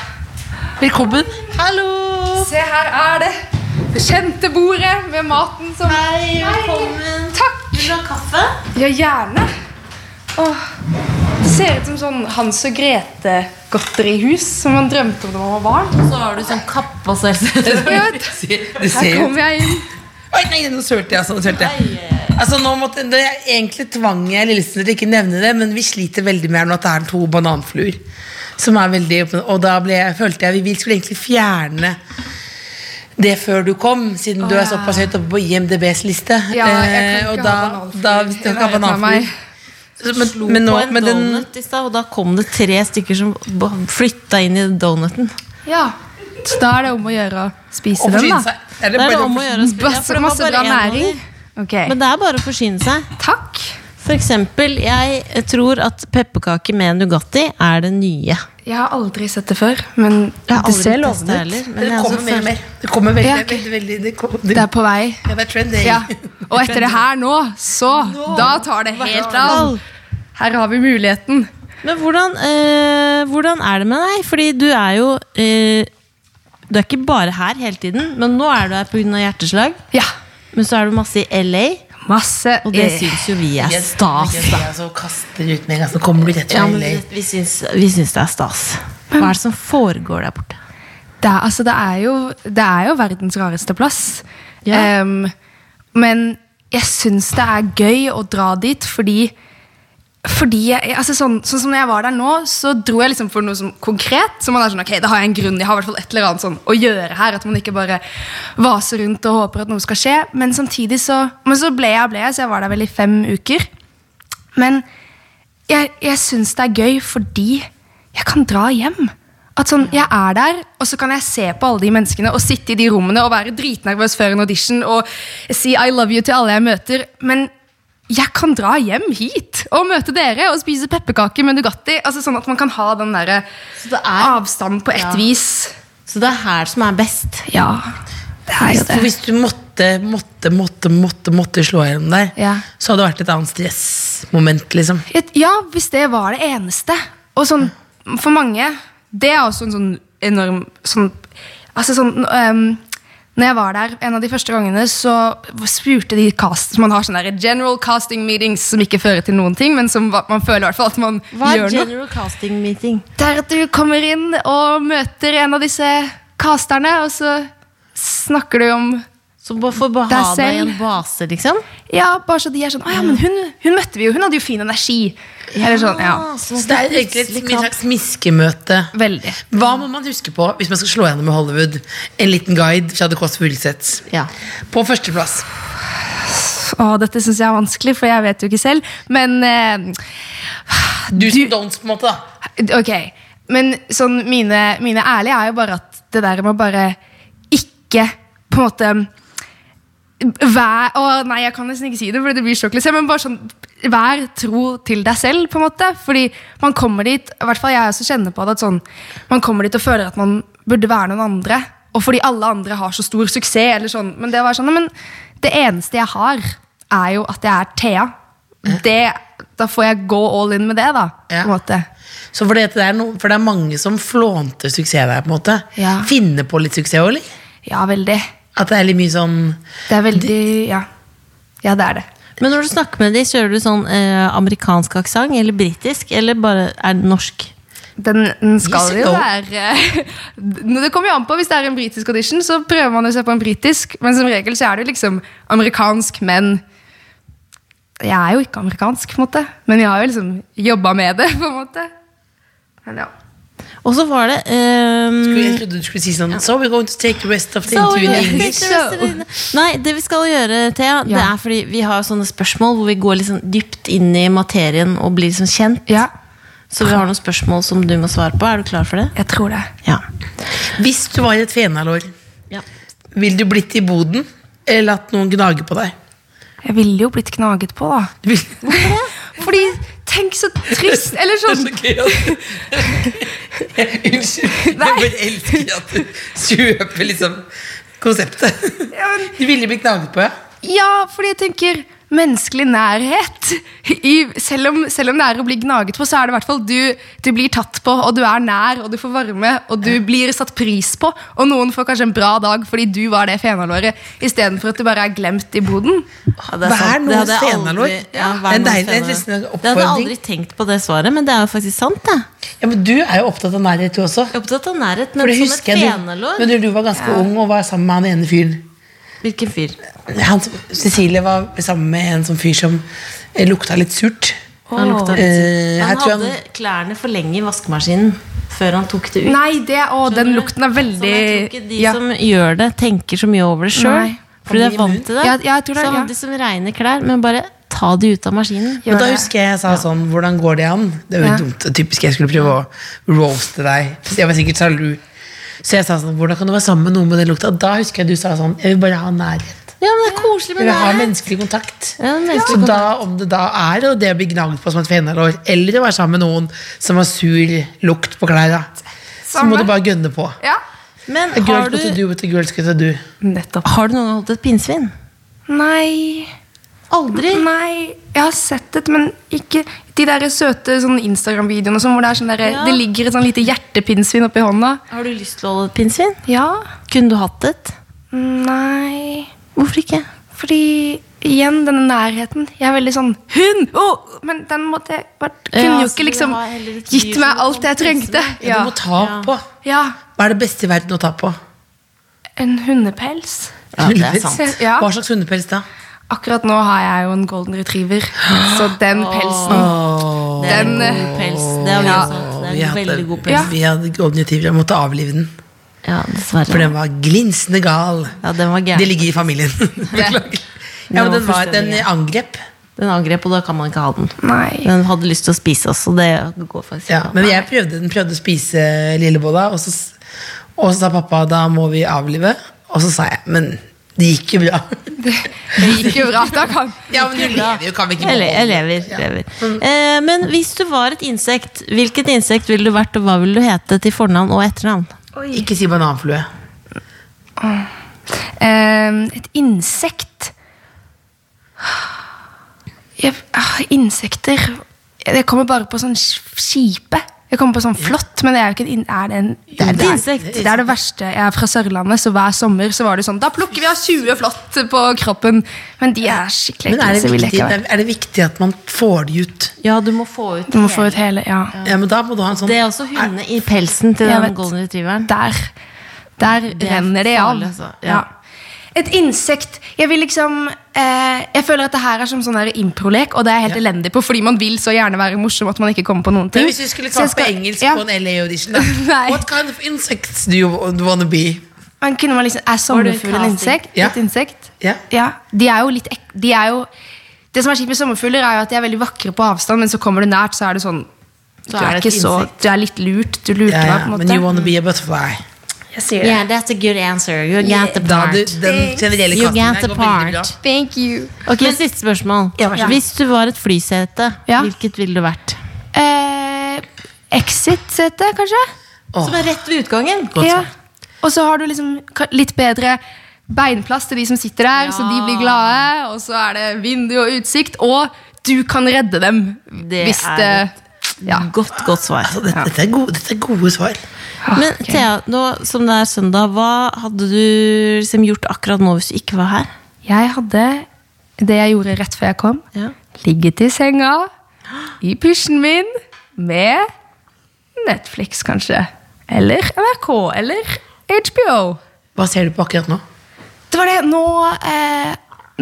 Speaker 2: Velkommen. Hallo!
Speaker 4: Se, her er det. Det kjente bordet med maten som
Speaker 2: Hei, velkommen.
Speaker 4: Takk!
Speaker 3: Vil du ha kaffe?
Speaker 4: Ja, gjerne. Åh. Det ser ut som sånn Hans og Grete-godterihus som man drømte om da man var barn.
Speaker 3: Så har du sånn kappe og så
Speaker 4: Og jeg vet,
Speaker 2: Du ser, du ser
Speaker 4: Her
Speaker 2: jo
Speaker 4: kommer jeg inn.
Speaker 2: Oi, nei, nå sølte jeg, altså. Nå sølte jeg.
Speaker 4: eh.
Speaker 2: Altså, nå måtte, det er egentlig tvang jeg Lillesen til å ikke nevne det, men vi sliter veldig med her nå at det er to bananfluer. Som er veldig åpne. Og da ble jeg, følte jeg vi- vi skulle egentlig fjerne det før du kom, siden du er såpass høyt oppe på IMDbs liste.
Speaker 4: Ja, jeg
Speaker 2: Eh,
Speaker 4: kan
Speaker 2: og
Speaker 4: ikke
Speaker 2: da,
Speaker 4: ha
Speaker 2: da,
Speaker 4: bananfluer.
Speaker 2: hvis du ikke har
Speaker 4: Jeg vet meg.
Speaker 2: bananfluer Så, men, men,
Speaker 3: på
Speaker 2: nå,
Speaker 3: en
Speaker 2: men den,
Speaker 3: donut i stad, og da kom det tre stykker som b- flytta inn i donuten.
Speaker 4: Ja. sunt. Da er det om å gjøre å spise den,
Speaker 2: Forsyne
Speaker 4: da.
Speaker 2: seg. Er det
Speaker 3: Det er
Speaker 2: bare
Speaker 3: det om å gjøre å spise.
Speaker 4: Masse, masse bra næring. Ok,
Speaker 3: Men det er bare å forsyne seg.
Speaker 4: Takk.
Speaker 3: For eksempel, jeg eh, tror at pepperkake med Nugatti er det nye.
Speaker 4: Jeg har aldri sett det før, men det ser lovende
Speaker 3: Men
Speaker 4: ut.
Speaker 3: jeg
Speaker 2: Det
Speaker 3: er
Speaker 2: kommer
Speaker 3: altså
Speaker 2: mer og
Speaker 3: først-
Speaker 2: mer. Det kommer veldig,
Speaker 4: Ja, ok.
Speaker 2: veldig, veldig det, kom, det,
Speaker 4: Det er på vei.
Speaker 2: ja, det er trendy.
Speaker 4: Ja. Og etter det her nå, så Da tar det helt av. Her har vi muligheten.
Speaker 3: Men hvordan, eh, hvordan er det med deg? Fordi du er jo eh, Du er ikke bare her hele tiden, men nå er du her pga. hjerteslag.
Speaker 4: Ja.
Speaker 3: Men så er du masse i LA,
Speaker 4: Masse
Speaker 3: og det
Speaker 4: eh,
Speaker 3: syns jo vi er
Speaker 2: Yes,
Speaker 3: stas.
Speaker 2: yes, yes, og kaster ut med en gang, så kommer du rett
Speaker 3: Ja,
Speaker 2: fra
Speaker 3: men
Speaker 2: LA.
Speaker 3: vi, vi, syns, vi syns det er stas. Hva er det som foregår der borte?
Speaker 4: det, er- altså, det, er jo, det er jo verdens rareste plass.
Speaker 3: Ja.
Speaker 4: Em, men jeg syns det er gøy å dra dit fordi fordi jeg, altså sånn, sånn som når jeg var der nå, så dro jeg liksom for noe som konkret. Så man er sånn, ok, da har jeg en grunn, jeg har i hvert fall et eller annet sånn å gjøre her. At man ikke bare vaser rundt og håper at noe skal skje. Men samtidig så Men så ble jeg og ble jeg, så jeg var der vel i fem uker. Men jeg, jeg syns det er gøy fordi jeg kan dra hjem. At sånn, Jeg er der, og så kan jeg se på alle de menneskene og sitte i de rommene og være dritnervøs før en audition og si I love you til alle jeg møter. Men jeg kan dra hjem hit og møte dere og spise pepperkaker med Nugatti. Altså sånn at man kan ha den der
Speaker 3: det er-
Speaker 4: avstanden på ett
Speaker 3: Ja.
Speaker 4: vis.
Speaker 3: Så det er her som er best.
Speaker 4: Ja, det er jo det.
Speaker 2: For hvis du måtte, måtte, måtte, måtte, måtte slå gjennom der,
Speaker 4: Ja.
Speaker 2: så hadde det vært et annet stressmoment, liksom.
Speaker 4: Et- Ja, hvis det var det eneste. Og sånn, for mange Det er også en sånn enorm sånn, Altså sånn øhm, Når jeg var der en av de første gangene, så spurte de cast Man har sånne der general casting meetings som ikke fører til noen ting, men som hva- man føler i hvert fall at man
Speaker 3: Hva er
Speaker 4: gjør noe.
Speaker 3: general casting meeting?
Speaker 4: Der at du kommer inn og møter en av disse casterne, og så snakker du om
Speaker 3: Så bare for å
Speaker 4: Deg
Speaker 3: ha deg i en
Speaker 4: selv.
Speaker 3: base, liksom?
Speaker 4: Ja, bare så de er sånn Å ja, men hun, hun møtte vi jo, hun hadde jo fin energi. Eller sånn, ja.
Speaker 3: så
Speaker 2: Så det er egentlig et mye slags miskemøte.
Speaker 4: Veldig.
Speaker 2: Hva må man huske på hvis man skal slå gjennom i Hollywood? En liten guide fra The Kåss Furuseth.
Speaker 3: Ja.
Speaker 2: På førsteplass.
Speaker 4: Å, dette syns jeg er vanskelig, for jeg vet jo ikke selv. Men eh,
Speaker 2: Du som don'ts, på en måte. da
Speaker 4: ok. Men sånn, mine, mine ærlige er jo bare at det der med å bare ikke på en måte Vær Å, nei, jeg kan nesten ikke si det, for det blir så klisjé. Men bare sånn Vær tro til deg selv, på en måte. Fordi man kommer dit I hvert fall jeg også kjenner på det at sånn Man kommer dit og føler at man burde være noen andre. Og fordi alle andre har så stor suksess, eller sånn. Men det var sånn «Nei, Men det eneste jeg har, er jo at jeg er Thea. Det, da får jeg gå all in med det, da.
Speaker 2: Ja.
Speaker 4: På en måte.
Speaker 2: Så for det, at det er noe- for det er mange som flånter suksess der. på en måte
Speaker 4: Ja.
Speaker 2: Finner på litt suksess òg, eller?
Speaker 4: Ja, veldig.
Speaker 2: At det er litt mye sånn
Speaker 4: Det er veldig Ja, ja det er det.
Speaker 3: Men når du snakker med de, kjører du sånn eh, amerikansk aksent eller britisk? Eller bare er det norsk?
Speaker 4: Den, den skal
Speaker 2: Yes,
Speaker 4: jo
Speaker 2: no.
Speaker 4: være eh, Det kommer jo an på. Hvis det er en britisk audition, så prøver man å se på en britisk, men som regel så er det jo liksom amerikansk, men Jeg er jo ikke amerikansk, på en måte, men jeg har jo liksom jobba med det, på en måte. Men ja.
Speaker 3: Og så var det
Speaker 2: Jeg
Speaker 3: ehm,
Speaker 2: trodde du skulle si sånn So we're going to take the rest of the
Speaker 3: så-
Speaker 2: interview in English.
Speaker 3: Nei, det vi skal gjøre, Thea, det
Speaker 4: Ja.
Speaker 3: er fordi vi har sånne spørsmål hvor vi går liksom dypt inn i materien og blir liksom kjent.
Speaker 4: ja.
Speaker 3: Så vi har noen spørsmål som du må svare på. Er du klar for det?
Speaker 4: Jeg tror det.
Speaker 3: Ja.
Speaker 2: Hvis du var et fenalår, vil du blitt i boden? Eller at noen gnager på deg?
Speaker 4: Jeg ville jo blitt gnaget på, da.
Speaker 2: Du vil...
Speaker 4: Fordi Tenk så trist! Eller sånn
Speaker 2: Det er så gøy at Unnskyld. Jeg bare elsker at du kjøper liksom konseptet.
Speaker 4: Ja, men-
Speaker 2: Du ville blitt gnaget på, ja?
Speaker 4: Ja, fordi jeg tenker menneskelig nærhet. I, selv, om, selv om det er å bli gnaget på, så er det i hvert fall du, du blir tatt på, og du er nær, og du får varme, og du blir satt pris på. Og noen får kanskje en bra dag fordi du var det fenalåret, istedenfor at du bare er glemt i boden.
Speaker 3: det
Speaker 2: Vær
Speaker 3: sant.
Speaker 2: noens
Speaker 3: hadde jeg aldri-
Speaker 2: fenalår.
Speaker 3: Ja, vær
Speaker 2: En
Speaker 3: noens
Speaker 2: deilig- en
Speaker 3: fenalår.
Speaker 2: liten
Speaker 3: Det hadde jeg
Speaker 2: oppfordring.
Speaker 3: aldri tenkt på det svaret, men det er jo faktisk sant, det.
Speaker 2: ja men du er jo opptatt av nærhet, du også.
Speaker 3: Jeg er opptatt av nærhet,
Speaker 2: For
Speaker 3: men
Speaker 2: det
Speaker 3: som et
Speaker 2: husker jeg du,
Speaker 3: fenalår
Speaker 2: men du, du var ganske ung og var sammen med han ene fyren.
Speaker 3: Hvilken fyr?
Speaker 2: Han, som- Cecilie var sammen med en sånn fyr som eh, lukta litt surt.
Speaker 3: Han lukta litt
Speaker 2: Eh, jeg
Speaker 3: Han
Speaker 2: tror han-
Speaker 3: hadde klærne for lenge i vaskemaskinen før han tok det ut.
Speaker 4: Nei, det, å,
Speaker 3: Skjønner
Speaker 4: den
Speaker 3: du?
Speaker 4: lukten er
Speaker 3: Sånn, jeg tror ikke
Speaker 4: veldig
Speaker 3: de som gjør det, tenker så mye over det sjøl.
Speaker 4: Nei.
Speaker 3: Fordi de er vant til det.
Speaker 4: Ja, ja, jeg tror
Speaker 3: så
Speaker 4: det, ja.
Speaker 3: han de som regner klær, men bare ta de ut av maskinen.
Speaker 2: Men da
Speaker 4: det.
Speaker 2: husker jeg jeg sa sånn Hvordan går det an? Det var jo
Speaker 4: Ja.
Speaker 2: dumt og typisk. Jeg skulle prøve å roaste deg. Jeg var sikkert sjalu. Så jeg sa sånn, hvordan kan du være sammen med noen med den lukta? Da husker jeg du sa sånn, jeg vil bare ha nærhet.
Speaker 3: Ja, men det er koselig
Speaker 2: Jeg
Speaker 3: med
Speaker 2: vil ha
Speaker 3: det.
Speaker 2: menneskelig kontakt.
Speaker 3: Ja, menneskelig
Speaker 2: Så da, om det da er jo det å bli gnagd på som et fenalår, eller å være sammen med noen som har sur lukt på klærne, så
Speaker 4: Samme.
Speaker 2: må du bare gønne på.
Speaker 4: Ja.
Speaker 3: Men
Speaker 2: A girl
Speaker 3: har
Speaker 2: go to
Speaker 3: du,
Speaker 2: do what a girl skal to do.
Speaker 4: Nettopp.
Speaker 3: har du noen gang holdt et pinnsvin?
Speaker 4: Nei
Speaker 3: Aldri.
Speaker 4: Nei, jeg har sett det, men ikke de der søte sånn Instagram-videoene sånn, hvor det, er sånn der,
Speaker 3: Ja.
Speaker 4: det ligger et sånn lite hjertepinnsvin oppi hånda.
Speaker 3: Har du lyst til å holde et pinnsvin?
Speaker 4: Ja.
Speaker 3: Kunne du hatt et?
Speaker 4: Nei
Speaker 3: Hvorfor ikke?
Speaker 4: Fordi igjen, denne nærheten. Jeg er veldig sånn Hun! Å! men den måtte jeg bare- Kunne
Speaker 3: Ja,
Speaker 4: jo
Speaker 3: så du
Speaker 4: ikke liksom
Speaker 3: har heller et dyr
Speaker 4: gitt meg
Speaker 3: som du
Speaker 4: alt
Speaker 3: kan
Speaker 4: jeg trengte.
Speaker 3: pisse
Speaker 4: Ja.
Speaker 2: Du må ta
Speaker 3: Ja.
Speaker 2: på.
Speaker 4: ja.
Speaker 2: Hva er det beste i verden å ta på?
Speaker 4: En hundepels.
Speaker 3: Ja, det er sant.
Speaker 4: Se- Ja.
Speaker 2: Hva slags hundepels da?
Speaker 4: Akkurat nå har jeg jo en golden retriever, så den pelsen
Speaker 2: Åh,
Speaker 4: Den
Speaker 3: det er en
Speaker 4: eh,
Speaker 3: god pels. Det er, jo
Speaker 4: Ja.
Speaker 3: sant. Det er en
Speaker 2: vi hadde,
Speaker 3: veldig god
Speaker 4: Ja.
Speaker 3: pels.
Speaker 2: vi hadde golden retriever. Jeg måtte avlive den,
Speaker 3: Ja,
Speaker 2: for
Speaker 3: dessverre.
Speaker 2: den var glinsende gal.
Speaker 3: Ja, den var
Speaker 2: Det
Speaker 3: gæren.
Speaker 2: ligger i familien. Beklager. Ja,
Speaker 3: Den
Speaker 2: men
Speaker 3: var
Speaker 2: den, var, den
Speaker 3: fullstendig.
Speaker 2: angrep.
Speaker 3: Den angrep, og da kan man ikke ha den.
Speaker 4: Nei.
Speaker 3: Den hadde lyst til å spise oss, og det går faktisk
Speaker 2: Ja,
Speaker 3: ikke. an.
Speaker 2: men jeg prøvde, den prøvde å spise lillebolla, og så, s- og så sa pappa da må vi avlive. Og så sa jeg men det gikk jo bra.
Speaker 4: Det gikk jo bra. Da kan
Speaker 2: Ja, men du lever jo, kan vi ikke
Speaker 3: Jeg, le- jeg lever. lever.
Speaker 4: Mm.
Speaker 3: Eh, men hvis du var et insekt, hvilket insekt ville du vært, og hva ville du hete til fornavn og etternavn?
Speaker 2: Ikke si bananflue.
Speaker 4: Ehm, et insekt jeg, ah, Insekter Jeg kommer bare på sånn sk- skipe. Jeg kommer på sånn flått, men det er jo ikke en, in- er det en det er,
Speaker 3: et
Speaker 4: det er-
Speaker 3: insekt.
Speaker 4: Det er det verste. Jeg er fra Sørlandet, så hver sommer så var det sånn Da plukker vi av 20 flått på kroppen. Men de er skikkelig
Speaker 2: Men er det,
Speaker 4: ekle, så vil jeg
Speaker 2: viktig,
Speaker 4: ikke være.
Speaker 2: er det viktig at man får det ut?
Speaker 3: Ja, du må få ut
Speaker 4: Du må få ut hele Ja.
Speaker 2: Ja, men da må du ha en sånn
Speaker 3: Det er også hundene i pelsen til
Speaker 4: Jeg
Speaker 3: den
Speaker 4: vet.
Speaker 3: golden retrieveren.
Speaker 4: Der, der
Speaker 3: er
Speaker 4: renner det av.
Speaker 3: farlig, altså. Ja.
Speaker 4: Ja. Et insekt Jeg vil liksom eh, Jeg føler at det her er som sånn der improlek, og det er jeg helt elendig på, fordi man vil så gjerne være morsom at man ikke kommer på noen ting.
Speaker 2: Men hvis vi skulle
Speaker 4: Så jeg
Speaker 2: svart på
Speaker 4: skal-
Speaker 2: engelsk
Speaker 4: ja,
Speaker 2: på en LA-audition, da
Speaker 4: Nei.
Speaker 2: What kind of insects do you wanna be?
Speaker 4: men kunne man liksom, Er sommerfugl en
Speaker 3: casting?
Speaker 4: insekt?
Speaker 2: Ja.
Speaker 4: Et insekt?
Speaker 2: Ja.
Speaker 4: De er jo litt ek... De er jo Det som er kjipt med sommerfugler, er jo at de er veldig vakre på avstand, men så kommer du nært, så er det sånn du
Speaker 3: er
Speaker 4: er,
Speaker 3: det
Speaker 4: ikke
Speaker 3: et
Speaker 4: så, du er litt lurt. Du lurte
Speaker 2: Ja, ja,
Speaker 4: meg. på en
Speaker 2: men you
Speaker 4: måte
Speaker 2: wanna be a butterfly.
Speaker 4: Jeg sier det.
Speaker 3: Yeah, that's a good answer. You get the
Speaker 2: Da
Speaker 3: part.
Speaker 2: du, den generelle
Speaker 3: You
Speaker 2: kasten
Speaker 3: get
Speaker 2: der
Speaker 3: the
Speaker 2: går veldig bra.
Speaker 3: part.
Speaker 4: Thank you.
Speaker 3: Ok, Siste spørsmål.
Speaker 4: vær så god.
Speaker 3: Hvis du var et flysete,
Speaker 4: Ja.
Speaker 3: hvilket ville du vært?
Speaker 4: Eh, Exit-sete, kanskje?
Speaker 2: Åh,
Speaker 3: Som er rett ved utgangen.
Speaker 2: godt svar.
Speaker 4: Ja. Og så har du liksom ka- litt bedre beinplass til de som sitter der, så de blir glade. Og så er det vindu og utsikt, og du kan redde dem
Speaker 3: Det
Speaker 4: hvis
Speaker 3: er
Speaker 4: det ja.
Speaker 3: Godt, godt svar.
Speaker 2: Altså, dette, dette, er gode, dette er gode svar.
Speaker 3: Men
Speaker 4: Ah, ok.
Speaker 3: Thea, nå som det er søndag, hva hadde du liksom gjort akkurat nå hvis du ikke var her?
Speaker 4: Jeg hadde det jeg gjorde rett før jeg kom.
Speaker 3: Ja.
Speaker 4: Ligget i senga, i pysjen min, med Netflix, kanskje. Eller NRK, eller HBO.
Speaker 2: Hva ser du på akkurat nå?
Speaker 4: Det var det. Nå, eh,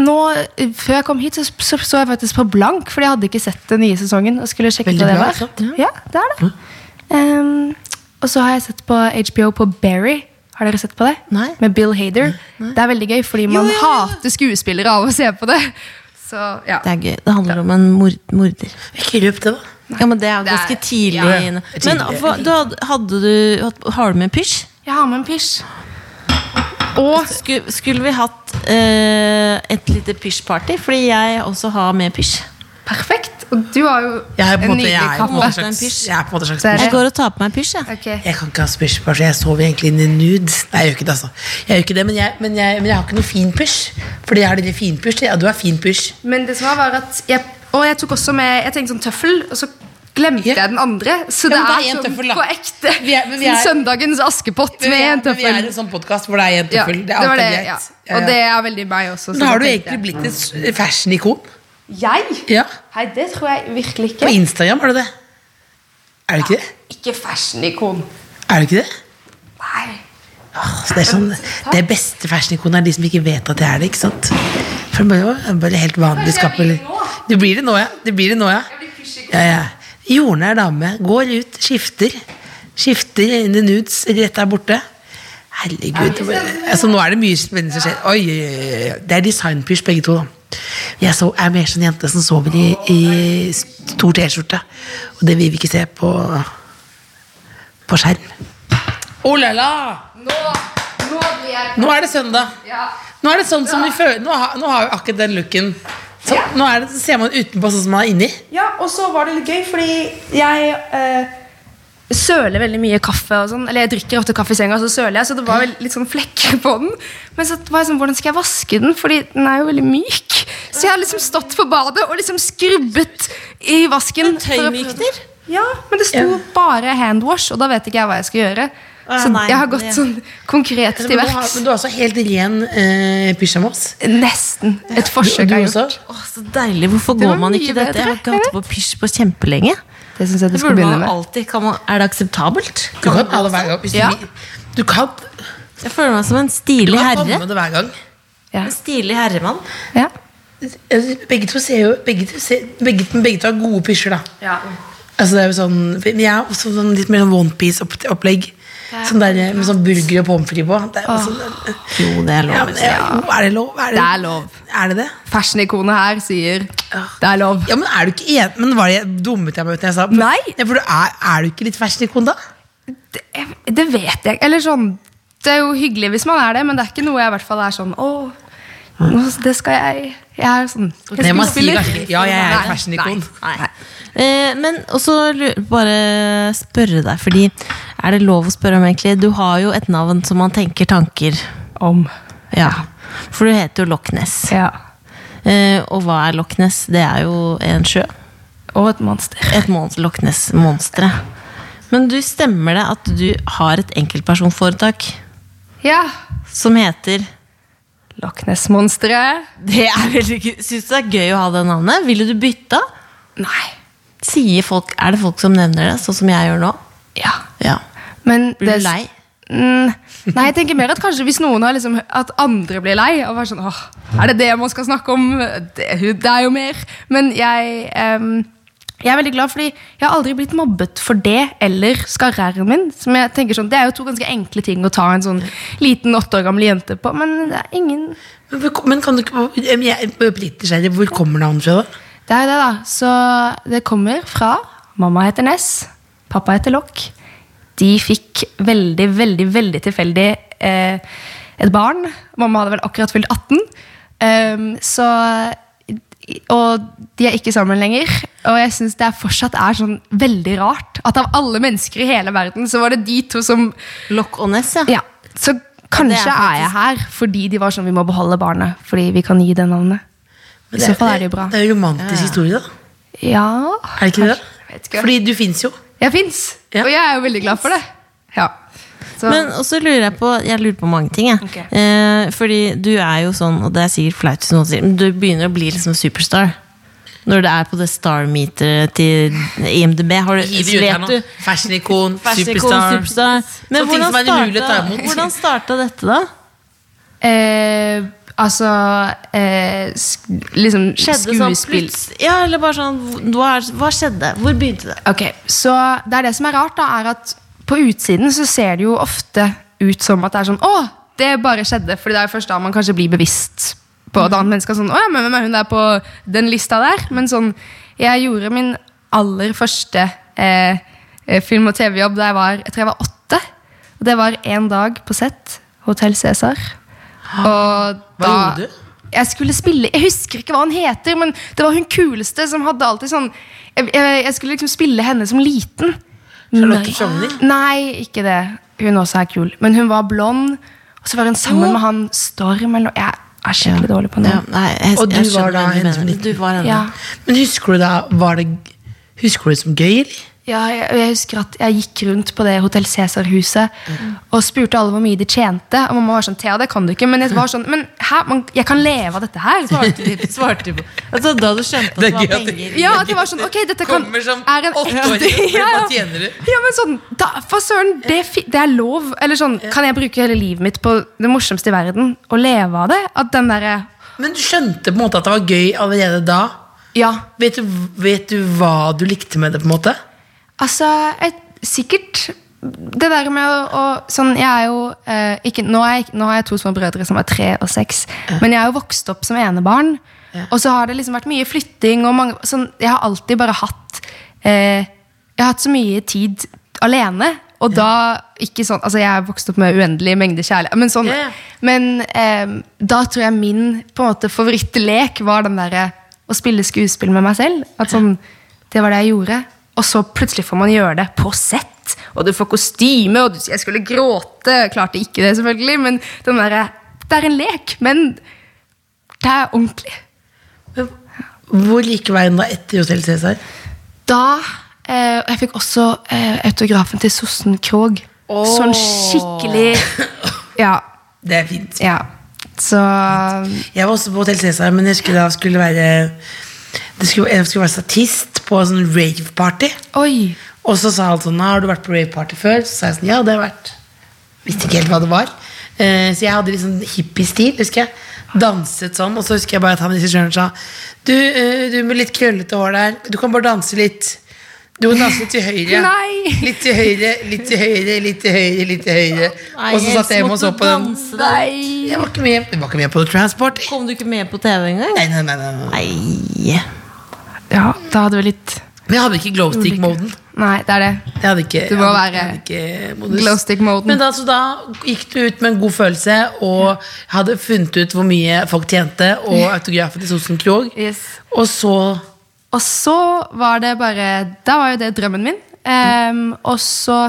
Speaker 4: nå eh, Før jeg kom hit, så, så, så jeg faktisk på blank, fordi jeg hadde ikke sett den nye sesongen. Og skulle sjekke
Speaker 2: Veldig
Speaker 4: hva det
Speaker 2: bra,
Speaker 4: var.
Speaker 2: sant?
Speaker 4: Ja, det er det. Ehm, og så har jeg sett på HBO på Berry. Har dere sett på det?
Speaker 3: Nei.
Speaker 4: Med Bill Hader. Det er veldig gøy, fordi man
Speaker 3: jo, jo.
Speaker 4: hater skuespillere av å se på det. Så, ja.
Speaker 3: Det er gøy. Det handler om en mord morder.
Speaker 2: Ikke røp det, da.
Speaker 3: Ja, men det er jo
Speaker 4: Det er-
Speaker 3: ganske tidlig.
Speaker 4: ja,
Speaker 2: ja.
Speaker 3: inne.
Speaker 2: Tidlig.
Speaker 3: Men hva, du hadde, hadde du, hatt- har du med pysj?
Speaker 4: Jeg har med en pysj. Og
Speaker 3: Skulle, skulle vi hatt eh, et lite pysjparty? Fordi jeg også har med pysj.
Speaker 4: perfekt. Og du har jo
Speaker 2: Jeg, er på en
Speaker 4: en
Speaker 2: måte, jeg,
Speaker 4: nydelig
Speaker 2: er jo på en måte
Speaker 4: kappe.
Speaker 3: En
Speaker 2: slags,
Speaker 3: pysj.
Speaker 2: jeg er på en måte slags
Speaker 4: Så er det-
Speaker 2: pysj.
Speaker 3: Jeg går og tar på meg pysj, jeg.
Speaker 4: Ok.
Speaker 2: Jeg kan ikke ha pysj, bare så jeg sover egentlig inn i nudes. Nei, jeg gjør ikke det, altså. Jeg gjør ikke det, men jeg, men jeg, men jeg har ikke noe fin pysj. Fordi jeg har dere fin pysj. Ja, du har fin pysj.
Speaker 4: Men det som var, var at jeg, Og jeg tok også med Jeg tenkte sånn tøffel, og så glemte
Speaker 2: Ja.
Speaker 4: jeg den andre. Så
Speaker 2: Ja, men
Speaker 4: det
Speaker 2: da er
Speaker 4: er
Speaker 2: en
Speaker 4: sånn
Speaker 2: tøffel, da.
Speaker 4: på ekte.
Speaker 2: Vi er- men vi
Speaker 4: Sånn
Speaker 2: er-
Speaker 4: Søndagens Askepott med en
Speaker 2: Vi er
Speaker 4: tøffel.
Speaker 2: en sånn podkast hvor det er en
Speaker 4: Ja,
Speaker 2: tøffel.
Speaker 4: det var det,
Speaker 2: alltid
Speaker 4: ja.
Speaker 2: greit. Ja,
Speaker 4: Og
Speaker 2: ja.
Speaker 4: det er veldig meg også. så
Speaker 2: Men
Speaker 4: da
Speaker 2: har du
Speaker 4: tenkte
Speaker 2: egentlig blitt et s- fashion-ikon?
Speaker 4: Jeg? Jeg?
Speaker 2: Ja.
Speaker 4: Nei, det tror jeg virkelig
Speaker 2: På
Speaker 4: ikke.
Speaker 2: Instagram, er du det? Er du ikke det?
Speaker 4: Ikke fashion-ikon.
Speaker 2: Er du ikke det?
Speaker 4: Nei.
Speaker 2: Altså, det, er sånn, det beste fashion-ikonet er de som ikke vet at det er det. ikke sant? For det er jo bare helt vanlig
Speaker 4: Kanskje jeg
Speaker 2: skappel.
Speaker 4: blir det nå?
Speaker 2: Du blir det nå, ja. Du blir det nå, ja.
Speaker 4: blir pysjikon.
Speaker 2: ja, ja. Jordnær dame. Går ut, skifter. Skifter in the nudes. Rett der borte. Herregud. det bare- Altså, nå er det mye spennende som skjer. Oi, oi, oi, oi. Det er designpysj, begge to. da. Jeg så, er mer sånn jente som sover i, i stor T-skjorte. Og det vil vi ikke se på, på skjerm. Oh la la!
Speaker 4: Nå, nå blir jeg
Speaker 2: Nå er det søndag.
Speaker 4: ja.
Speaker 2: Nå er det sånn som vi føler Nå har, nå har vi akkurat den looken. Så,
Speaker 7: Ja.
Speaker 2: Nå er det, ser man utenpå sånn som man er inni.
Speaker 7: Ja, og så var det litt gøy, fordi jeg eh,
Speaker 4: Søler veldig mye kaffe og sånn. Eller jeg drikker ofte kaffe i senga, og så søler jeg. Så det var vel litt sånn flekker på den. Men så var jeg sånn, hvordan skal jeg vaske den? Fordi den er jo veldig myk. Så jeg har liksom stått på badet og liksom skrubbet i vasken. for å prøve- Ja, men det sto bare handwash, og da vet ikke jeg hva jeg skal gjøre.
Speaker 3: Ah,
Speaker 4: Så
Speaker 3: nei,
Speaker 4: jeg har gått
Speaker 3: det-
Speaker 4: sånn konkret
Speaker 2: Men
Speaker 4: til
Speaker 2: du har,
Speaker 4: verks.
Speaker 2: men du har også helt ren eh, pysjamas.
Speaker 4: Nesten. Et
Speaker 2: Du,
Speaker 4: forsøk
Speaker 2: du
Speaker 4: er gjort.
Speaker 2: også?
Speaker 3: Å, så deilig. Hvorfor
Speaker 4: Det
Speaker 3: går
Speaker 4: var
Speaker 3: man
Speaker 4: mye
Speaker 3: ikke dette? Jeg har
Speaker 4: bedre,
Speaker 3: ikke hatt det på pysj på kjempelenge.
Speaker 4: Det syns jeg du
Speaker 3: Det
Speaker 4: skal
Speaker 3: burde man
Speaker 4: begynne med.
Speaker 3: alltid. Kan man, er det akseptabelt?
Speaker 2: Du kan ta det hver gang. Hvis du,
Speaker 4: Ja.
Speaker 2: vil. du kan
Speaker 3: Jeg føler meg som en stilig herre.
Speaker 2: komme det hver gang.
Speaker 4: Ja.
Speaker 3: En stilig herremann.
Speaker 4: Ja.
Speaker 2: Begge to ser jo Begge to, ser, begge, men begge to har gode pysjer, da. Altså det er jo sånn Men jeg er også sånn litt mer sånn onepiece-opplegg. Sånn der eh, med sånn burger og pommes frites på. Det er, jo sånn-
Speaker 3: Jo, det
Speaker 2: ja,
Speaker 3: er lov.
Speaker 2: men, eh, er det lov? Er
Speaker 4: Det er lov.
Speaker 2: Er det det?
Speaker 4: Fashion-ikonet her sier
Speaker 3: Ah.
Speaker 4: det er lov.
Speaker 2: Ja, men er du ikke en, Men var jeg dummet jeg meg ut når jeg sa
Speaker 4: Nei.
Speaker 2: Ja, for du er, er du ikke litt fashionikon, da?
Speaker 4: Jeg- Det vet jeg Eller sånn Det er jo hyggelig hvis man er det, men det er ikke noe jeg i hvert fall er sånn Åh, nå, det skal jeg Jeg er sånn jeg
Speaker 2: Nei, man sier
Speaker 4: skuespiller.
Speaker 2: kanskje ikke, Ja, jeg er
Speaker 4: Nei,
Speaker 2: et fashionikon.
Speaker 4: Nei.
Speaker 3: Eh, men også lu- bare spørre deg, fordi er det lov å spørre om egentlig? Du har jo et navn som man tenker tanker.
Speaker 4: Om.
Speaker 3: Ja. For du heter jo Loch Ness.
Speaker 4: Ja.
Speaker 3: Eh, og hva er Loch Ness? Det er jo en sjø.
Speaker 4: Og et monster.
Speaker 3: Et mon- Loch Ness-monstre. Men du stemmer det at du har et enkeltpersonforetak
Speaker 4: Ja.
Speaker 3: som heter
Speaker 4: Loch Ness-monsteret.
Speaker 3: Det er veldig gøy. Syns du det er gøy å ha det navnet? Ville du bytta?
Speaker 4: Nei.
Speaker 3: Sier folk, er det folk som nevner det, sånn som jeg gjør nå?
Speaker 4: Ja.
Speaker 3: Ja.
Speaker 4: Men
Speaker 3: Blir
Speaker 4: det-
Speaker 3: du lei?
Speaker 4: Mm, nei, jeg tenker mer at kanskje hvis noen har liksom At andre blir lei og bare sånn Åh, er det det man skal snakke om? Det, det er jo mer Men jeg, em, jeg er veldig glad fordi Jeg har aldri blitt mobbet for det Eller skarreren min Som jeg tenker sånn, det er jo to ganske enkle ting Å ta en sånn liten åtte år gammel jente på Men det er ingen
Speaker 2: Men hvor- Men kan du ikke jeg- jeg er oppriktig nysgjerrig, Hvor kommer navnet fra, da?
Speaker 4: Det er jo det da Så det kommer fra Mamma heter Ness Pappa heter Lokk De fikk veldig, veldig, veldig tilfeldig eh, Et barn Mamma hadde vel akkurat fylt 18 Ehm, Så Og de er ikke sammen lenger Og jeg synes det er fortsatt er sånn veldig rart At av alle mennesker i hele verden Så var det de to som
Speaker 3: Loch og Ness, ja.
Speaker 4: ja, Så kanskje er,
Speaker 3: faktisk-
Speaker 4: jeg her Fordi de var sånn, vi må beholde barnet Fordi vi kan gi det navnet
Speaker 2: Men
Speaker 4: I så fall er det jo bra.
Speaker 2: Det er jo romantisk historie, da.
Speaker 4: Ja
Speaker 2: Er det ikke det?
Speaker 4: kanskje. Jeg vet ikke.
Speaker 2: Fordi du fins jo.
Speaker 4: Jeg fins,
Speaker 2: Ja.
Speaker 4: og jeg er jo veldig glad for det. Ja. Så,
Speaker 3: Men også lurer jeg på Jeg lurer på mange ting, jeg.
Speaker 4: Ok.
Speaker 3: Eh, fordi du er jo sånn, og det er sikkert flaut, som noen sier, men du begynner å bli liksom superstar. Når det er på det star-meteret til E IMDb. Har du, vet du
Speaker 2: Fashionikon,
Speaker 3: Superstar. superstar. Men
Speaker 2: Sånne ting
Speaker 3: hvordan
Speaker 2: som er umulig å ta
Speaker 3: starta,
Speaker 2: imot.
Speaker 3: hvordan starta dette, da?
Speaker 4: eh, altså eh, sk Liksom
Speaker 3: Skjedde sånn
Speaker 4: skuespill
Speaker 3: plutselig? Ja, eller bare sånn hva, hva skjedde? Hvor begynte det?
Speaker 4: Ok, Så det er det som er rart, da, er at på utsiden så ser det jo ofte ut som at det er sånn Å, det bare skjedde. Fordi det er jo først da man kanskje blir bevisst på et annet menneske. og Sånn, å ja, men hvem er hun der på den lista der? Men sånn, jeg gjorde min aller første eh, eh, film- og TV-jobb da jeg var jeg tror jeg var åtte. Og det var én dag på sett. Hotell Cæsar. Og
Speaker 2: Hva
Speaker 4: da
Speaker 2: gjorde du?
Speaker 4: jeg skulle spille Jeg husker ikke hva han heter, men det var hun kuleste som hadde alltid sånn Jeg, jeg, jeg skulle liksom spille henne som liten.
Speaker 2: Charlotte
Speaker 4: Nei.
Speaker 2: Frogner?
Speaker 4: Nei, ikke det. Hun også er kul. Men hun var blond, og så var hun sammen med han Storm eller noe. Jeg er skikkelig dårlig på
Speaker 3: Ja,
Speaker 4: navn.
Speaker 3: nei, jeg,
Speaker 2: Og du
Speaker 3: jeg skjønner
Speaker 2: var da
Speaker 3: hva du
Speaker 2: henne som
Speaker 3: mener.
Speaker 2: liten.
Speaker 3: Du var henne.
Speaker 4: Ja.
Speaker 2: Men husker du da var det, Husker du det som gøy, eller?
Speaker 4: Ja, jeg, og jeg husker at jeg gikk rundt på det Hotell Cæsar-huset
Speaker 2: Mm.
Speaker 4: og spurte alle hvor mye de tjente. Og mamma var sånn Thea, det kan du ikke. Men jeg var sånn Men hæ, man, jeg kan leve av dette her.
Speaker 3: Svarte de, svarte de på altså, Da du skjønte
Speaker 2: Det
Speaker 3: at det
Speaker 2: er
Speaker 3: var
Speaker 2: gøy at de-
Speaker 3: penger
Speaker 4: Ja, at det var sånn, ok, dette kan
Speaker 2: Kommer som
Speaker 4: er en ekte-
Speaker 2: åtteåring,
Speaker 4: Ja, ja.
Speaker 2: hva tjener du?
Speaker 4: Ja, men sånn, da, for søren, det, fi- det er lov Eller sånn, kan jeg bruke hele livet mitt på det morsomste i verden Og leve av det? At den der,
Speaker 2: Men du skjønte på en måte at det var gøy allerede da?
Speaker 4: ja
Speaker 2: Vet du, vet du hva du likte med det, på en måte?
Speaker 4: Altså, jeg, sikkert Det der med å, å sånn, Jeg er jo eh, ikke, nå, er jeg, nå har jeg to små brødre som er tre og seks Men jeg er jo vokst opp som enebarn Og så har det liksom vært mye flytting og mange, sånn, Jeg har alltid bare hatt eh, Jeg har hatt så mye tid alene Og da, ikke sånn, altså Jeg er vokst opp med uendelig mengde kjærlighet. Men, sånn,
Speaker 5: Ja, ja.
Speaker 4: men eh, da tror jeg min på en måte, favorittlek var den derre å spille skuespill med meg selv. At sånn, Det var det jeg gjorde. Og så plutselig får man gjøre det på sett. Og du får kostyme, og du, jeg skulle gråte. Klarte ikke det, selvfølgelig. Men den derre Det er en lek, men det er ordentlig.
Speaker 2: Hvor gikk veien da etter Hotell Cæsar?
Speaker 4: Da eh, og Jeg fikk også eh, autografen til Sossen Krog. Sånn skikkelig Ja.
Speaker 2: Det er fint.
Speaker 4: ja. Så
Speaker 2: Jeg var også på Hotel Cæsar, men jeg husker da skulle være det skulle, Jeg skulle være statist på en sånn rave-party.
Speaker 4: Oi!
Speaker 2: Og så sa han sånn Har du vært på rave-party før? Så sa jeg sånn Ja, det har jeg vært. Visste ikke helt hva det var. Eh, så jeg hadde litt sånn hippiestil, husker jeg. Danset sånn, og så husker jeg bare at han regissøren sa du, eh, du med litt krøllete hår der, du kan bare danse litt. Du må danse litt til høyre.
Speaker 4: Nei.
Speaker 2: Litt til høyre, litt til høyre, litt til høyre. litt til høyre
Speaker 3: Nei,
Speaker 2: Og så satt jeg hjemme og så
Speaker 3: måtte
Speaker 2: på den.
Speaker 3: danse der.
Speaker 4: Nei!
Speaker 2: Jeg var ikke med, jeg var ikke med på Transport.
Speaker 3: Kom du ikke med på TV engang?
Speaker 2: Nei, nei, nei, nei, nei.
Speaker 3: Nei.
Speaker 4: Ja, da hadde vi litt
Speaker 2: Men jeg hadde ikke glowstick-moden.
Speaker 4: Nei, det er det.
Speaker 2: Jeg hadde ikke,
Speaker 4: Du må
Speaker 2: jeg hadde,
Speaker 4: være
Speaker 2: jeg hadde ikke modus.
Speaker 4: glowstick-moden.
Speaker 2: Men da, så da gikk du ut med en god følelse og hadde funnet ut hvor mye folk tjente, og autografen til Sosen Krog.
Speaker 4: Yes.
Speaker 2: Og så
Speaker 4: Og så var det bare Da var jo det drømmen min. Ehm, og så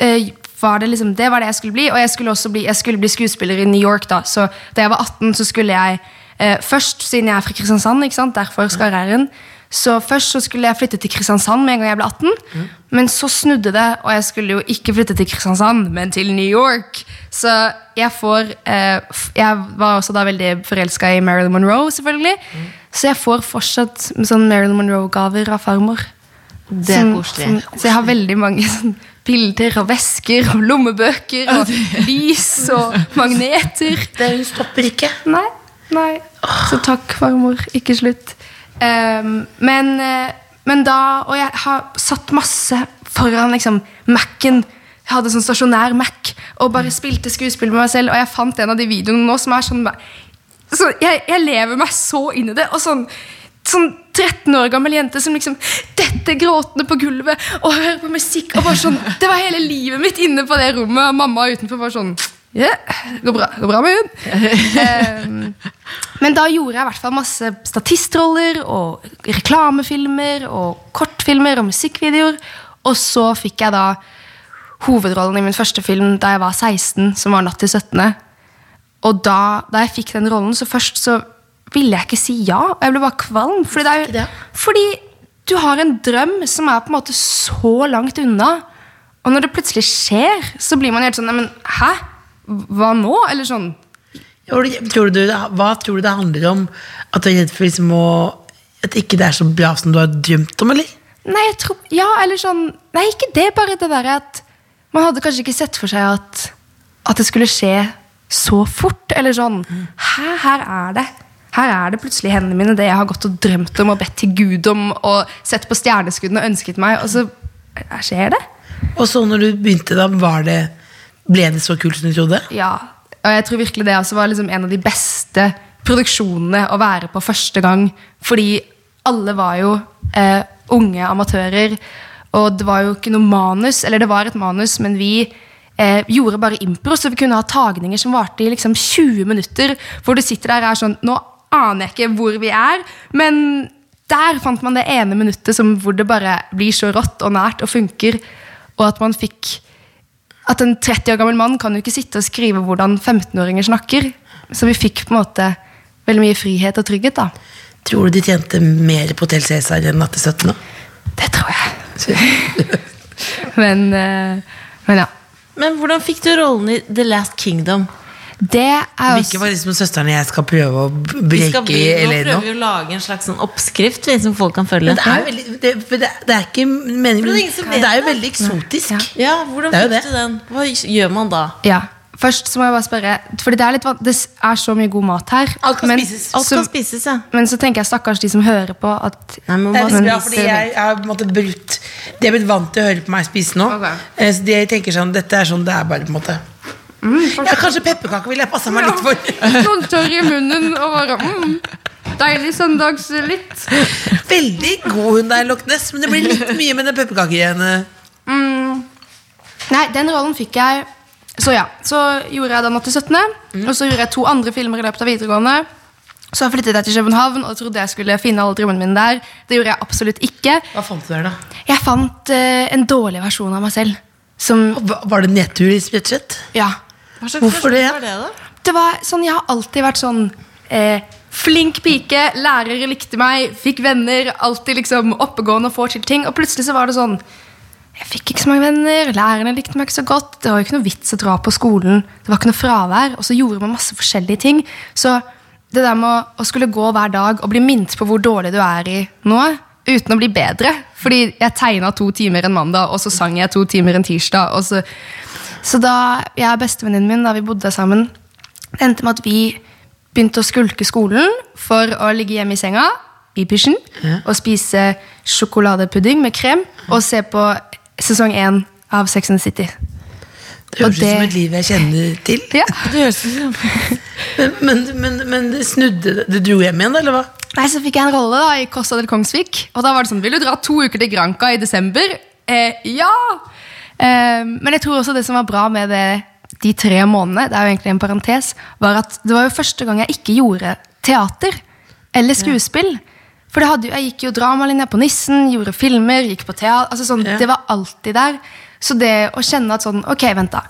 Speaker 4: eh, var det liksom Det var det jeg skulle bli. Og jeg skulle også bli, jeg skulle bli skuespiller i New York, da. Så da jeg var 18, så skulle jeg eh, først, siden jeg er fra Kristiansand, ikke sant? derfor skarrieren, så først så skulle jeg flytte til Kristiansand med en gang jeg ble 18. Men så snudde det, og jeg skulle jo ikke flytte til Kristiansand, men til New York. Så jeg får eh, f- Jeg var også da veldig forelska i Marilyn Monroe, selvfølgelig. Så jeg får fortsatt sånn Marilyn Monroe-gaver av farmor.
Speaker 3: Det er
Speaker 4: Som-
Speaker 3: koselig.
Speaker 4: som- Så jeg har veldig mange sånn, bilder og vesker og lommebøker og lys og magneter.
Speaker 2: det, Hun stopper ikke.
Speaker 4: Nei, nei. Så takk, farmor. Ikke slutt. Ehm, men, eh, men da Og jeg har satt masse foran liksom, Mac-en. Jeg hadde sånn stasjonær Mac og bare spilte skuespill med meg selv. Og jeg fant en av de videoene nå som er sånn så jeg, jeg lever meg så inn i det. Og sånn, sånn 13 år gammel jente som liksom detter gråtende på gulvet og hører på musikk. og bare sånn, Det var hele livet mitt inne på det rommet, og mamma utenfor bare sånn Ja, det går bra, det går bra med hun. Ehm, men da gjorde jeg i hvert fall masse statistroller og reklamefilmer og kortfilmer og musikkvideoer. Og så fikk jeg da hovedrollen i min første film da jeg var 16, som var 'Natt til 17.' Og da, da jeg fikk den rollen, så først så ville jeg ikke si ja. Og jeg ble bare kvalm. Fordi, det er, jo- fordi du har en drøm som er på en måte så langt unna. Og når det plutselig skjer, så blir man helt sånn Neimen, hæ? Hva nå? Eller sånn.
Speaker 2: Tror du- Tror du, det- hva tror du det handler om? At du er redd for liksom å At ikke det er så bra som du har drømt om, eller?
Speaker 4: Nei, jeg tror Ja, eller sånn Nei, ikke det, bare det derre at Man hadde kanskje ikke sett for seg at At det skulle skje så fort, eller sånn Hæ, her er det her er det plutselig i hendene mine, det jeg har gått og drømt om og bedt til Gud om og sett på stjerneskuddene og ønsket meg, og så her skjer det.
Speaker 2: Og så når du begynte, da var det Ble det så kult som du trodde?
Speaker 4: Ja, og jeg tror virkelig det også var liksom en av de beste produksjonene å være på første gang. Fordi alle var jo eh, unge amatører, og det var jo ikke noe manus. Eller det var et manus, men vi eh, gjorde bare impro, så vi kunne ha tagninger som varte i liksom 20 minutter. Hvor du sitter der og er sånn Nå aner jeg ikke hvor vi er, men der fant man det ene minuttet som, hvor det bare blir så rått og nært og funker. Og at man fikk at en 30 år gammel mann kan jo ikke sitte og skrive hvordan 15-åringer snakker. Så vi fikk på en måte veldig mye frihet og trygghet, da.
Speaker 2: Tror du de tjente mer på Hotel Cæsar enn Natt til 17? da?
Speaker 4: Det tror jeg. men, eh, men ja.
Speaker 3: Men hvordan fikk du rollen i The Last Kingdom?
Speaker 4: Det er
Speaker 2: Virker
Speaker 4: også
Speaker 2: faktisk som søsteren og jeg skal prøve å
Speaker 3: Vi skal
Speaker 2: breike
Speaker 3: bli,
Speaker 2: i
Speaker 3: nå
Speaker 2: LA nå.
Speaker 3: prøver vi å lage en slags sånn oppskrift vi, som folk kan følge.
Speaker 2: Men det er, veldig, det, for det, det er ikke meningen
Speaker 3: For det er ingen som
Speaker 2: Det
Speaker 3: vet
Speaker 2: er jo
Speaker 3: det.
Speaker 2: veldig eksotisk.
Speaker 3: Ja, hvordan
Speaker 2: Det er jo
Speaker 3: fikk
Speaker 2: det.
Speaker 3: du den? Hva gjør man da?
Speaker 4: Ja. Først så må jeg bare spørre, for det er litt van- Det er så mye god mat her.
Speaker 2: Alt kan
Speaker 4: men,
Speaker 2: spises.
Speaker 3: Alt
Speaker 4: så,
Speaker 3: kan spises, ja.
Speaker 4: men så tenker jeg stakkars de som hører på, at
Speaker 3: Nei, men
Speaker 2: Det er litt
Speaker 3: hva-
Speaker 2: bra, fordi jeg har på en måte brutt De er blitt vant til å høre på meg spise nå.
Speaker 4: Ok.
Speaker 2: Eh, Så de tenker sånn Dette er sånn det er bare, på en måte.
Speaker 3: Mm,
Speaker 2: Ja, kanskje pepperkaker ville jeg passa meg litt for.
Speaker 4: Sånn tørr i munnen og bare mm, Deilig søndags litt.
Speaker 2: Veldig god hun der, Loch Ness, men det blir litt mye med den pepperkakegreiene.
Speaker 4: Nei, den rollen fikk jeg Så ja, så gjorde jeg da Natt til 17. Og så gjorde jeg to andre filmer i løpet av videregående. Så flyttet jeg til København og trodde jeg skulle finne alle drømmene mine der. Det gjorde jeg absolutt ikke.
Speaker 2: Hva fant du der, da?
Speaker 4: Jeg fant eh, en dårlig versjon av meg selv. Som,
Speaker 2: Hva- Var det nedtur i sprettsett?
Speaker 4: ja.
Speaker 2: Hvorfor det?
Speaker 3: Var det da?
Speaker 4: Det var sånn, Jeg har alltid vært sånn eh, flink pike. Lærere likte meg, fikk venner. Alltid liksom oppegående og får til ting. Og plutselig så var det sånn Jeg fikk ikke så mange venner, lærerne likte meg ikke så godt. Det var jo ikke noe vits å dra på skolen. Det var ikke noe fravær. Og så gjorde man masse forskjellige ting. Så det der med å- å skulle gå hver dag og bli minnet på hvor dårlig du er i nå, uten å bli bedre Fordi jeg tegna to timer en mandag, og så sang jeg to timer en tirsdag. og så... Så da jeg og bestevenninnen min, da vi bodde sammen, det endte med at vi begynte å skulke skolen for å ligge hjemme i senga i pysjen og spise sjokoladepudding med krem og se på sesong én av Sex and the City.
Speaker 2: Det høres
Speaker 4: Og
Speaker 2: ut som
Speaker 4: det-
Speaker 2: et liv jeg kjenner til.
Speaker 4: Ja.
Speaker 2: Men, men, men, men det snudde det? Du dro hjem igjen, eller hva?
Speaker 4: Nei, Så fikk jeg en rolle da i Costa del Kongsvik. Og da var det sånn Vil du dra to uker til Granca i desember? Eh, ja! Eh, men jeg tror også det som var bra med det, de tre månedene, det er jo egentlig en parentes, var at det var jo første gang jeg ikke gjorde teater eller skuespill. For det hadde jo, jeg gikk jo dramalinja på Nissen, gjorde filmer, gikk på teater. altså sånn, Det var alltid der. Så det å kjenne at sånn Ok, vent, da.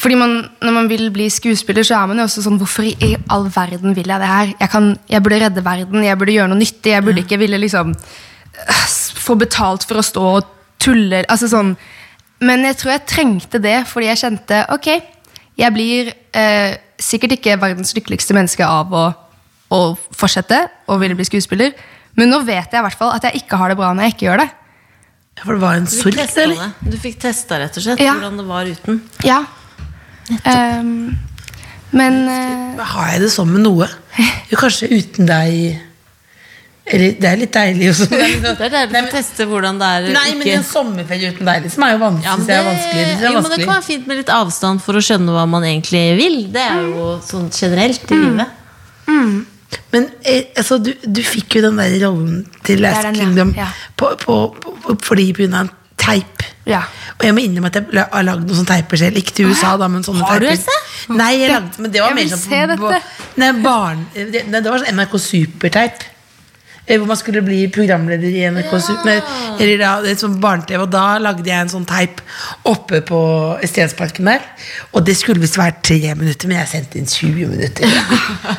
Speaker 4: Fordi man, Når man vil bli skuespiller, så er man jo også sånn Hvorfor i all verden vil jeg det her? Jeg, kan, jeg burde redde verden, jeg burde gjøre noe nyttig. Jeg burde ikke ville liksom øh, få betalt for å stå og tulle. Altså sånn. Men jeg tror jeg trengte det fordi jeg kjente Ok, jeg blir eh, sikkert ikke verdens lykkeligste menneske av å, å fortsette og ville bli skuespiller, men nå vet jeg i hvert fall at jeg ikke har det bra når jeg ikke gjør det.
Speaker 2: Ja, For det var en
Speaker 3: Du fikk
Speaker 2: sorg,
Speaker 3: testa
Speaker 2: eller?
Speaker 3: det. Du fikk testa rett og slett
Speaker 4: Ja.
Speaker 3: hvordan det var uten.
Speaker 4: Ja. Ehm, men eh,
Speaker 2: Har jeg det sånn med noe? Jo, kanskje uten deg Eller det er litt deilig også. Det er litt- sånn-
Speaker 3: Det er deilig å teste hvordan det er å
Speaker 2: Nei, men
Speaker 3: ikke
Speaker 2: en sommerferie uten deg liksom, er jo vanskelig.
Speaker 3: Ja, men
Speaker 2: synes jeg er vanskelig. Det synes jeg er
Speaker 3: jo, men det
Speaker 2: vanskelig.
Speaker 3: kan være fint med litt avstand for å skjønne hva man egentlig vil. Det er jo sånn generelt i
Speaker 2: Mm.
Speaker 3: livet.
Speaker 2: Men eh, altså, du, du fikk jo den der rollen til Last
Speaker 4: er den, ja.
Speaker 2: Kingdom
Speaker 4: Ja.
Speaker 2: På, på, på, på, fordi på grunn av en teip.
Speaker 4: Ja.
Speaker 2: Og jeg må innrømme at jeg la- har lagd noen sånne teiper selv. Ikke til USA, da, men sånne
Speaker 3: Har du,
Speaker 2: teiper.
Speaker 3: Else?
Speaker 2: Nei, jeg lagde, men det var
Speaker 4: Jeg
Speaker 2: mer
Speaker 4: vil
Speaker 2: sånn
Speaker 4: se dette.
Speaker 2: nei, barn, eh, det, nei, det var sånn NRK Superteip. eh, Hvor man skulle bli programleder i NRK Super nei, Eller da, det er sånn barne-TV. Og da lagde jeg en sånn teip oppe på Stensparken der. Og det skulle visst vært tre minutter, men jeg sendte inn 20 minutter.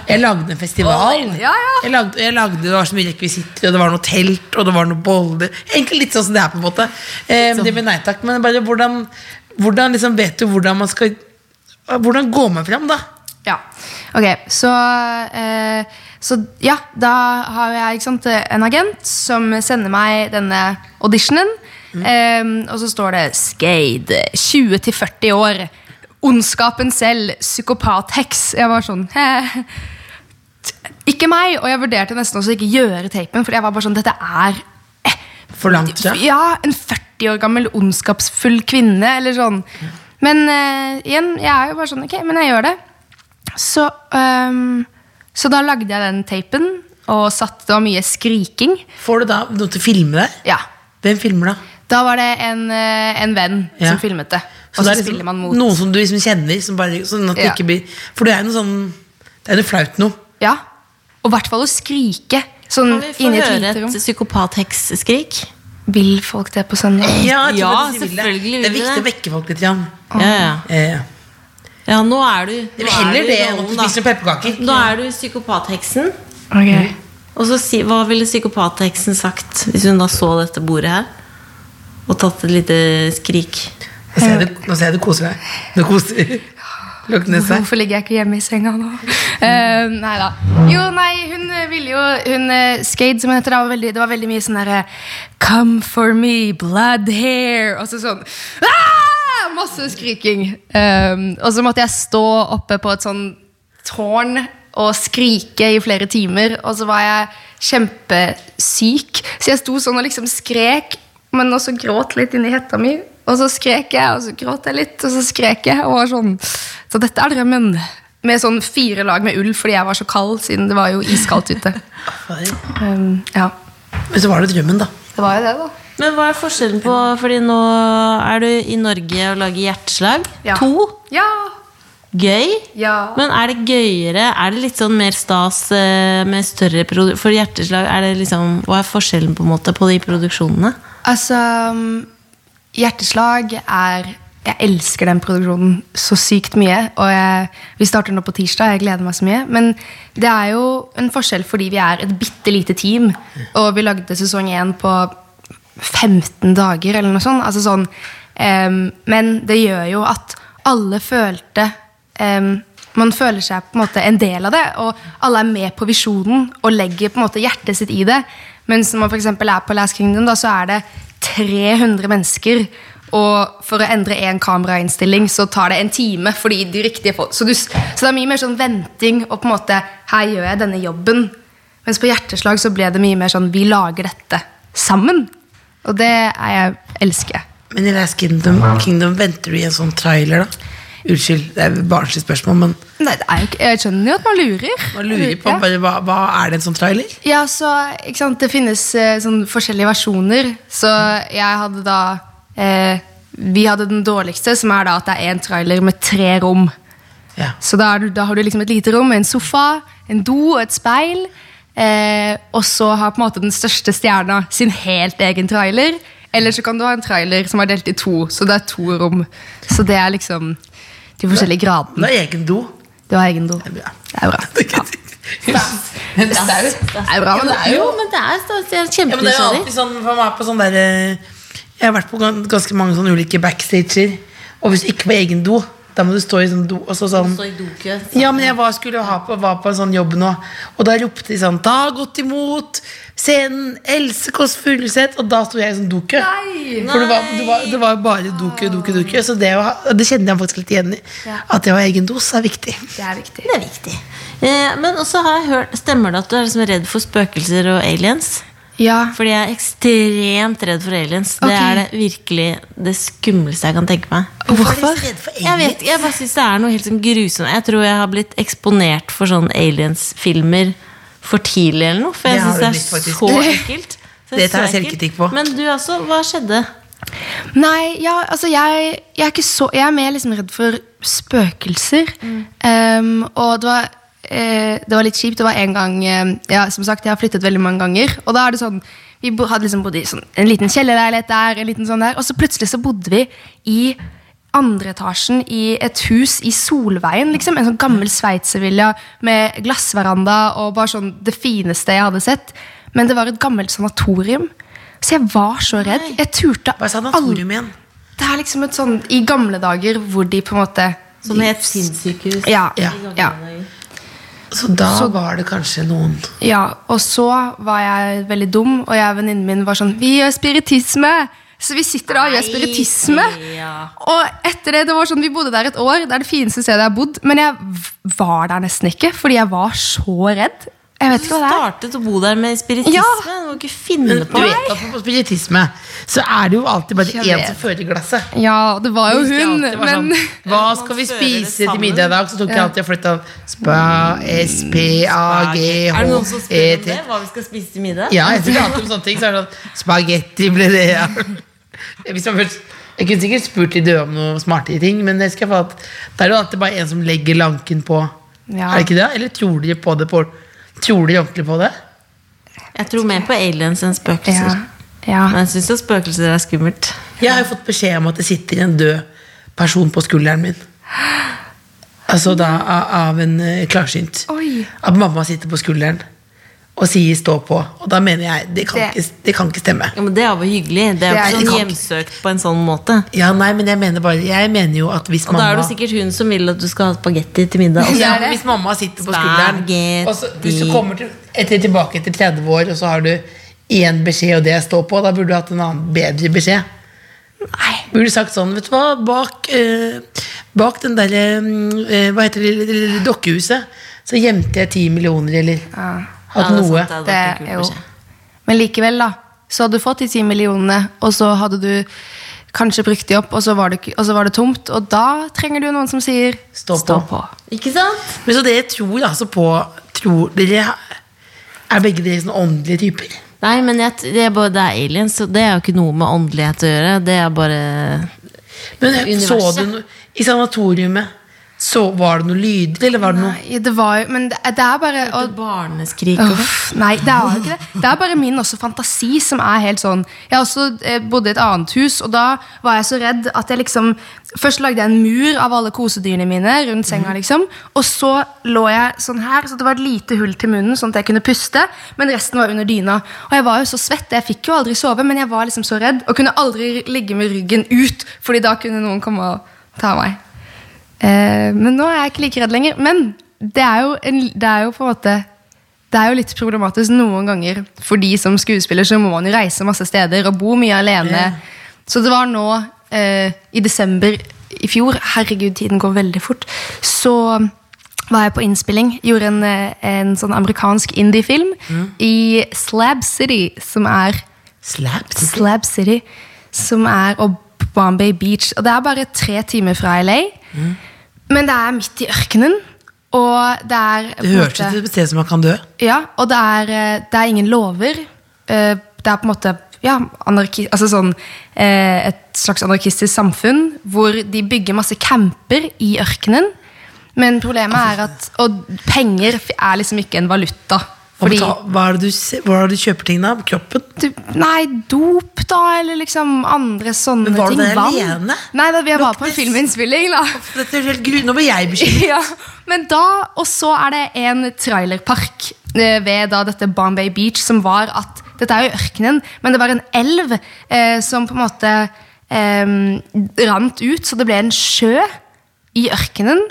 Speaker 2: Jeg lagde en festival.
Speaker 4: ja, ja.
Speaker 2: Jeg lagde, jeg lagde, det var så mye rekvisitter, og det var noe telt, og det var noe boller. Egentlig litt sånn som det er, på en måte. Eh, men
Speaker 4: sånn.
Speaker 2: det med nei takk, men bare hvordan, hvordan liksom vet du hvordan man skal Hvordan går man fram, da?
Speaker 4: Ja. Ok, så, eh, så ja, da har jo jeg ikke sant, en agent som sender meg denne auditionen. Eh, og så står det 'Skade. 20 til 40 år. Ondskapen selv. Psykopatheks. Jeg var sånn eh, t- Ikke meg! Og jeg vurderte nesten også ikke gjøre tapen, for jeg var bare sånn Dette er eh,
Speaker 2: For langt
Speaker 4: ja.
Speaker 2: fra.
Speaker 4: en 40 år gammel ondskapsfull kvinne, eller sånn. Men eh, igjen, jeg er jo bare sånn, ok, men jeg gjør det. Så, ehm, så da lagde jeg den tapen, og satt, det var mye skriking.
Speaker 2: Får du da noen til å filme deg?
Speaker 4: Ja,
Speaker 2: Hvem filmer da?
Speaker 4: da var det en, eh, en venn
Speaker 2: Ja.
Speaker 4: som filmet det. Og så,
Speaker 2: det er liksom
Speaker 4: spiller man mot.
Speaker 2: Noen som du liksom kjenner? Som bare, sånn at det
Speaker 4: Ja.
Speaker 2: ikke blir, for det er jo noe sånn Det er noe flaut noe.
Speaker 4: Ja, og i hvert fall å skrike, sånn
Speaker 3: Kan vi få
Speaker 4: inni et
Speaker 3: høre
Speaker 4: lite rom.
Speaker 3: et psykopatheksskrik?
Speaker 4: Vil folk det på søndag?
Speaker 2: Ja, jeg tror
Speaker 3: Ja,
Speaker 2: faktisk de vil det.
Speaker 3: selvfølgelig
Speaker 2: Det er
Speaker 3: vil de
Speaker 2: viktig å
Speaker 3: det.
Speaker 2: vekke folk litt. Jan.
Speaker 3: Ja, ja.
Speaker 2: Eh,
Speaker 3: ja, nå er du
Speaker 2: det
Speaker 3: nå
Speaker 2: er
Speaker 3: er
Speaker 2: heller
Speaker 3: du i
Speaker 2: det enn å
Speaker 3: rollen, da.
Speaker 2: spise noen pepperkaker.
Speaker 3: Nå er du psykopatheksen.
Speaker 4: Ok.
Speaker 3: Og så si, Hva ville psykopatheksen sagt hvis hun da så dette bordet her? Og tatt et lite skrik?
Speaker 2: Nå ser jeg du, nå ser jeg du koser deg. Nå koser Lukker ned seg.
Speaker 4: Hvorfor ligger jeg ikke hjemme i senga nå? Eh, nei da. Jo, nei, hun eh, ville jo Hun eh, Skade, som hun heter, da, var veldig, det var veldig mye sånn derre Come for me, blood hair Og så sånn «Ah!» Masse skriking. Eh, og så måtte jeg stå oppe på et sånn tårn og skrike i flere timer. Og så var jeg kjempesyk, så jeg sto sånn og liksom skrek, men også gråt litt inni hetta mi. Og så skrek jeg, og så gråt jeg litt, og så skrek jeg. Og var sånn, så dette er drømmen. Med sånn fire lag med ull fordi jeg var så kald, siden det var jo iskaldt ute.
Speaker 2: Fader.
Speaker 4: Um, ja,
Speaker 2: Men så var det drømmen, da.
Speaker 4: det var jo det, da.
Speaker 3: Men hva er forskjellen på Fordi nå er du i Norge og lager hjerteslag.
Speaker 4: Ja.
Speaker 3: To.
Speaker 4: Ja.
Speaker 3: Gøy.
Speaker 4: Ja.
Speaker 3: Men er det gøyere? Er det litt sånn mer stas eh, med større produ- For hjerteslag, er det liksom, hva er forskjellen på, en måte, på de produksjonene?
Speaker 4: Altså, mm, hjerteslag er Jeg elsker den produksjonen så sykt mye. Og jeg, vi starter nå på tirsdag. Jeg gleder meg så mye. Men det er jo en forskjell fordi vi er et bitte lite team. Og vi lagde sesong én på 15 dager eller noe sånt. Altså sånn, em, men det gjør jo at alle følte em, Man føler seg på en måte en del av det, og alle er med på visjonen og legger på en måte hjertet sitt i det. Mens når man for eksempel er på Last Kingdom, da, så er det 300 mennesker. Og for å endre én kamerainnstilling så tar det en time. fordi de riktige folk, så, du, s- så det er mye mer sånn venting og på en måte Her gjør jeg denne jobben. Mens på Hjerteslag så ble det mye mer sånn Vi lager dette sammen. Og det er jeg elsker jeg.
Speaker 2: Men i Last Kingdom, Kingdom venter du i en sånn trailer, da? Unnskyld, det er et barnslig spørsmål, men
Speaker 4: Nei, det er jo ikke, jeg skjønner jo at man lurer.
Speaker 2: man lurer på
Speaker 4: Ja.
Speaker 2: bare, hva, hva er det en sånn trailer?
Speaker 4: Ja, så ikke sant, Det finnes eh, sånn forskjellige versjoner. Så jeg hadde da eh, Vi hadde den dårligste, som er da at det er én trailer med tre rom.
Speaker 2: Ja.
Speaker 4: Så da, er du, da har du liksom et lite rom med en sofa, en do og et speil. Eh, og så har på en måte den største stjerna sin helt egen trailer. Eller så kan du ha en trailer som er delt i to, så det er to rom. Så det er liksom de forskjellige gradene.
Speaker 2: Det er egen do.
Speaker 4: Du har egen do. Det
Speaker 2: bra.
Speaker 4: er bra. Ja. Det er jo- det er jo bra, men det er jo
Speaker 3: Jo, men det er stas. Jeg
Speaker 2: Ja,
Speaker 3: er
Speaker 2: men det er jo
Speaker 3: kjempenysgjerrig.
Speaker 2: alltid sånn for meg på sånn der eh, Jeg har vært på gan- ganske mange sånne ulike backstager, og hvis du ikke på egen do, da må du stå i sånn do, og så sånn
Speaker 3: Stå i dokø.
Speaker 2: Ja, men jeg var, skulle ha på, var på en sånn jobb nå, og da ropte de sånn 'Ta godt imot scenen Else Kåss Furuseth', og da sto jeg i sånn dokø. For det var, det var, det var jo bare dokø, dokø, dokø. Så det, å ha- og det kjenner jeg faktisk litt igjen i. At det å ha egen dos er viktig.
Speaker 4: Det er viktig.
Speaker 3: Det er viktig. Eh, men også har jeg hørt Stemmer det at du er liksom redd for spøkelser og aliens?
Speaker 4: Ja,
Speaker 3: Fordi jeg er ekstremt redd for aliens. Det
Speaker 4: Ok.
Speaker 3: er det virkelig det skumleste jeg kan tenke meg.
Speaker 4: hvorfor?
Speaker 3: Jeg vet ikke, jeg bare synes det er noe helt sånn grusomt. Jeg tror jeg har blitt eksponert for sånn aliens-filmer for tidlig eller noe. For jeg
Speaker 2: Det har
Speaker 3: synes
Speaker 2: du
Speaker 3: det er
Speaker 2: blitt, faktisk.
Speaker 3: så ekkelt. Så
Speaker 2: Det tar jeg
Speaker 3: så ekkelt.
Speaker 2: selvkritikk på.
Speaker 3: Men du også, hva skjedde?
Speaker 4: Nei, ja, altså jeg, jeg er ikke så Jeg er mer liksom redd for spøkelser.
Speaker 2: Mm.
Speaker 4: Ehm, og det var, eh, det var litt kjipt. Det var en gang eh, ja, Som sagt, jeg har flyttet veldig mange ganger. Og da er det sånn Vi bo, hadde liksom bodd i sånn, en liten kjellerleilighet der, en liten sånn der, og så plutselig så bodde vi i andre etasjen i et hus i Solveien. liksom, En sånn gammel sveitservilla med glassveranda og bare sånn det fineste jeg hadde sett. Men det var et gammelt sanatorium. Så jeg var så redd. Jeg turte
Speaker 2: Hva er sanatorium igjen?
Speaker 4: det er liksom et sånn I gamle dager hvor de på en måte
Speaker 3: Som i et sinnssykehus.
Speaker 4: Ja.
Speaker 2: Ja.
Speaker 4: ja.
Speaker 2: Så da var det kanskje noen
Speaker 4: ja. Og så var jeg veldig dum, og jeg og venninnen min var sånn Vi gjør spiritisme! Så vi sitter da og gjør spiritisme.
Speaker 3: ja.
Speaker 4: Og etter det, det var sånn, Vi bodde der et år. Det er det fineste stedet jeg har bodd. Men jeg v- var der nesten ikke, fordi jeg var så redd. Jeg vet
Speaker 3: Du
Speaker 4: ikke hva det er.
Speaker 3: startet å bo der med spiritisme.
Speaker 4: Ja.
Speaker 3: Du må ikke finne
Speaker 2: Men du
Speaker 3: på det.
Speaker 2: vet at på spiritisme så er det jo alltid bare
Speaker 4: Jeg
Speaker 2: én
Speaker 4: vet.
Speaker 2: som fører glasset.
Speaker 4: Ja, det var jo
Speaker 2: Jeg
Speaker 4: hun,
Speaker 2: alltid var
Speaker 4: men
Speaker 2: sånn, Hva skal vi
Speaker 3: Man fører det
Speaker 2: spise til
Speaker 3: sammen.
Speaker 2: middag i dag? Så tok jeg alltid og flytta Spa, eh,
Speaker 3: Er det noen som spør om
Speaker 2: S-P-A-G-H-E-T.
Speaker 3: det? Hva vi skal spise til middag?
Speaker 2: Eh, Ja, jeg tror alltid om sånne ting. Så er det sånn Spagetti ble det, ja. Hvis man først jeg kunne sikkert spurt de døde om noe smarte ting, men jeg skal falle at det er jo alltid bare en som legger lanken på.
Speaker 4: Ja.
Speaker 2: Er det ikke det? Eller tror de på det? På, tror de ordentlig på det?
Speaker 3: Jeg tror mer på aliens enn
Speaker 4: ja,
Speaker 3: spøkelser.
Speaker 4: ja.
Speaker 3: Men jeg syns jo spøkelser er skummelt.
Speaker 2: Jeg har jo fått beskjed om at det sitter en død person på skulderen min. Altså da a- av en eh, klarsynt.
Speaker 4: Oi.
Speaker 2: At mamma sitter på skulderen og sier 'stå på'. Og da mener jeg det kan,
Speaker 4: Det-
Speaker 2: Ikke, det kan ikke stemme.
Speaker 3: Ja, men Det er jo hyggelig. Det er jo
Speaker 4: Det er-
Speaker 3: ikke sånn hjemsøkt på en sånn måte.
Speaker 2: Ja, nei, men jeg mener bare Jeg mener jo at hvis
Speaker 3: Og da er
Speaker 2: mamma
Speaker 3: det sikkert hun som vil at du skal ha spagetti til middag. Også.
Speaker 2: Ja,
Speaker 4: det.
Speaker 2: hvis mamma sitter på skulderen
Speaker 3: Spagetti.
Speaker 2: og så, Hvis du kommer til, etter, tilbake etter 30 år Og så har du én beskjed og det jeg står på Da burde du hatt en annen bedre beskjed Burde du sagt sånn Vet du hva, bak, eh, bak den der eh, Hva heter det, lille, lille dokkehuset Så gjemte jeg 10 millioner Eller
Speaker 3: Ja,
Speaker 2: hatt
Speaker 3: det er
Speaker 2: noe
Speaker 3: sant, det
Speaker 4: Det,
Speaker 3: hadde vært en kul
Speaker 4: jo.
Speaker 3: beskjed.
Speaker 4: Men likevel, da. Så hadde du fått de ti millionene, og så hadde du kanskje brukt de opp, og så var det, ikke- og så var det tomt. Og da trenger du noen som sier
Speaker 2: Stå på.
Speaker 3: Ikke sant?
Speaker 2: Men så dere tror altså på Tror dere Er begge dere sånne åndelige typer?
Speaker 3: Nei, men jeg, t- det, er bare, det er aliens, så det er jo ikke noe med åndelighet å gjøre. Det er bare
Speaker 2: Men så
Speaker 3: Universet.
Speaker 2: du noe I sanatoriumet, så var det noe lydelig, eller var det noe
Speaker 4: Nei, det var jo Men det, det er bare og,
Speaker 3: barneskrik og
Speaker 4: Uff, nei, det er jo ikke det. Det er bare min også fantasi som er helt sånn Jeg også eh, bodde i et annet hus, og da var jeg så redd at jeg liksom Først lagde jeg en mur av alle kosedyrene mine rundt senga, liksom. Og så lå jeg sånn her, så det var et lite hull til munnen, sånn at jeg kunne puste. Men resten var under dyna. Og jeg var jo så svett. Jeg fikk jo aldri sove, men jeg var liksom så redd. Og kunne aldri ligge med ryggen ut, Fordi da kunne noen komme og ta meg. Eh, men nå er jeg ikke like redd lenger. Men det er jo, en, det er jo på en måte det er jo litt problematisk noen ganger. Fordi som skuespiller så må man jo reise masse steder og bo mye alene. Så det var nå eh, i desember i fjor Herregud, tiden går veldig fort. Så var jeg på innspilling. Gjorde en, eh, en sånn amerikansk indie-film i Slab City, som er
Speaker 2: slap?
Speaker 4: Slab City, som er og Bombay Beach. Og det er bare tre timer fra LA. Men det er midt i ørkenen. Og det er på
Speaker 2: Det
Speaker 4: en
Speaker 2: hørtes
Speaker 4: måte-
Speaker 2: ut som et sted som man kan dø.
Speaker 4: ja, og det er, eh, det er ingen lover. Eh, Det er på en måte ja, anarki, altså sånn, eh, et slags anarkistisk samfunn hvor de bygger masse camper i ørkenen. Men problemet er at Og penger f- er liksom ikke en valuta.
Speaker 2: Og
Speaker 4: Fordi
Speaker 2: beta- hva er det du, se- hva er det du kjøper tingene av? Kroppen?
Speaker 4: du, Nei, dop, da, eller liksom andre sånne
Speaker 2: Men var du
Speaker 4: ting.
Speaker 2: der
Speaker 4: Vann.
Speaker 2: alene?
Speaker 4: Nei, da, vi var på en
Speaker 2: Luktes-
Speaker 4: filminnspilling, da.
Speaker 2: Dette er helt gru... Nå ble jeg bekymret.
Speaker 4: ja, men da, og så er det en trailerpark eh, ved da dette Bombay Beach, som var at Dette er jo ørkenen, men det var en elv eh, som på en måte eh, rant ut, så det ble en sjø i ørkenen.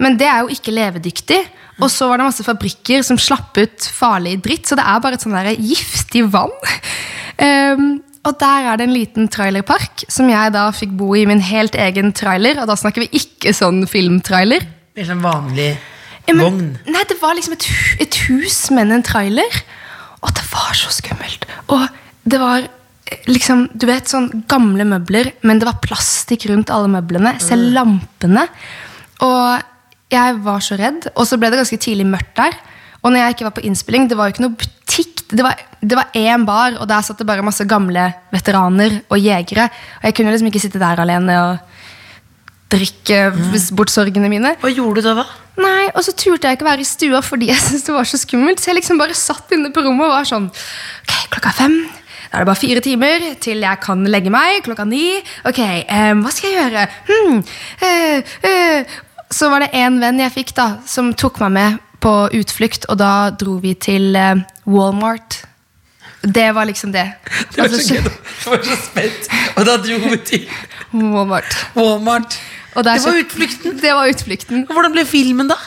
Speaker 4: Men det er jo ikke levedyktig. Og så var det masse fabrikker som slapp ut farlig dritt, så det er bare et sånn der giftig vann. Ehm, og der er det en liten trailerpark som jeg da fikk bo i min helt egen trailer. Og da snakker vi ikke sånn filmtrailer.
Speaker 2: Mer sånn vanlig
Speaker 4: Ja, men-
Speaker 2: vogn.
Speaker 4: Nei, det var liksom et, hu- et hus, men en trailer. Og det var så skummelt. Og det var eh, liksom, du vet, sånn gamle møbler, men det var plastikk rundt alle møblene. Selv lampene. Og jeg var så redd. Og så ble det ganske tidlig mørkt der. Og når jeg ikke var på innspilling, det var jo ikke noe butikk. Det var, det var én bar, og der satt det bare masse gamle veteraner og jegere. Og jeg kunne liksom ikke sitte der alene og drikke bort sorgene mine.
Speaker 2: Hva gjorde du da, da?
Speaker 4: Nei, og så turte jeg ikke være i stua fordi jeg syntes det var så skummelt. Så jeg liksom bare satt inne på rommet og var sånn Ok, klokka er fem. Da er det bare fire timer til jeg kan legge meg. Klokka ni. Ok, eh, hva skal jeg gjøre? Hmm, eh, eh. Så var det en venn jeg fikk, da, som tok meg med på utflukt, og da dro vi til eh, Walmart. Det var liksom det.
Speaker 2: Det var
Speaker 4: Altså,
Speaker 2: så gøy. Jeg var så spent. Og da dro vi til
Speaker 4: Walmart.
Speaker 2: Walmart.
Speaker 4: Og der
Speaker 2: Det var
Speaker 4: kjøpt-
Speaker 2: utflukten.
Speaker 4: Det var utflukten.
Speaker 2: Og Hvordan ble filmen, da?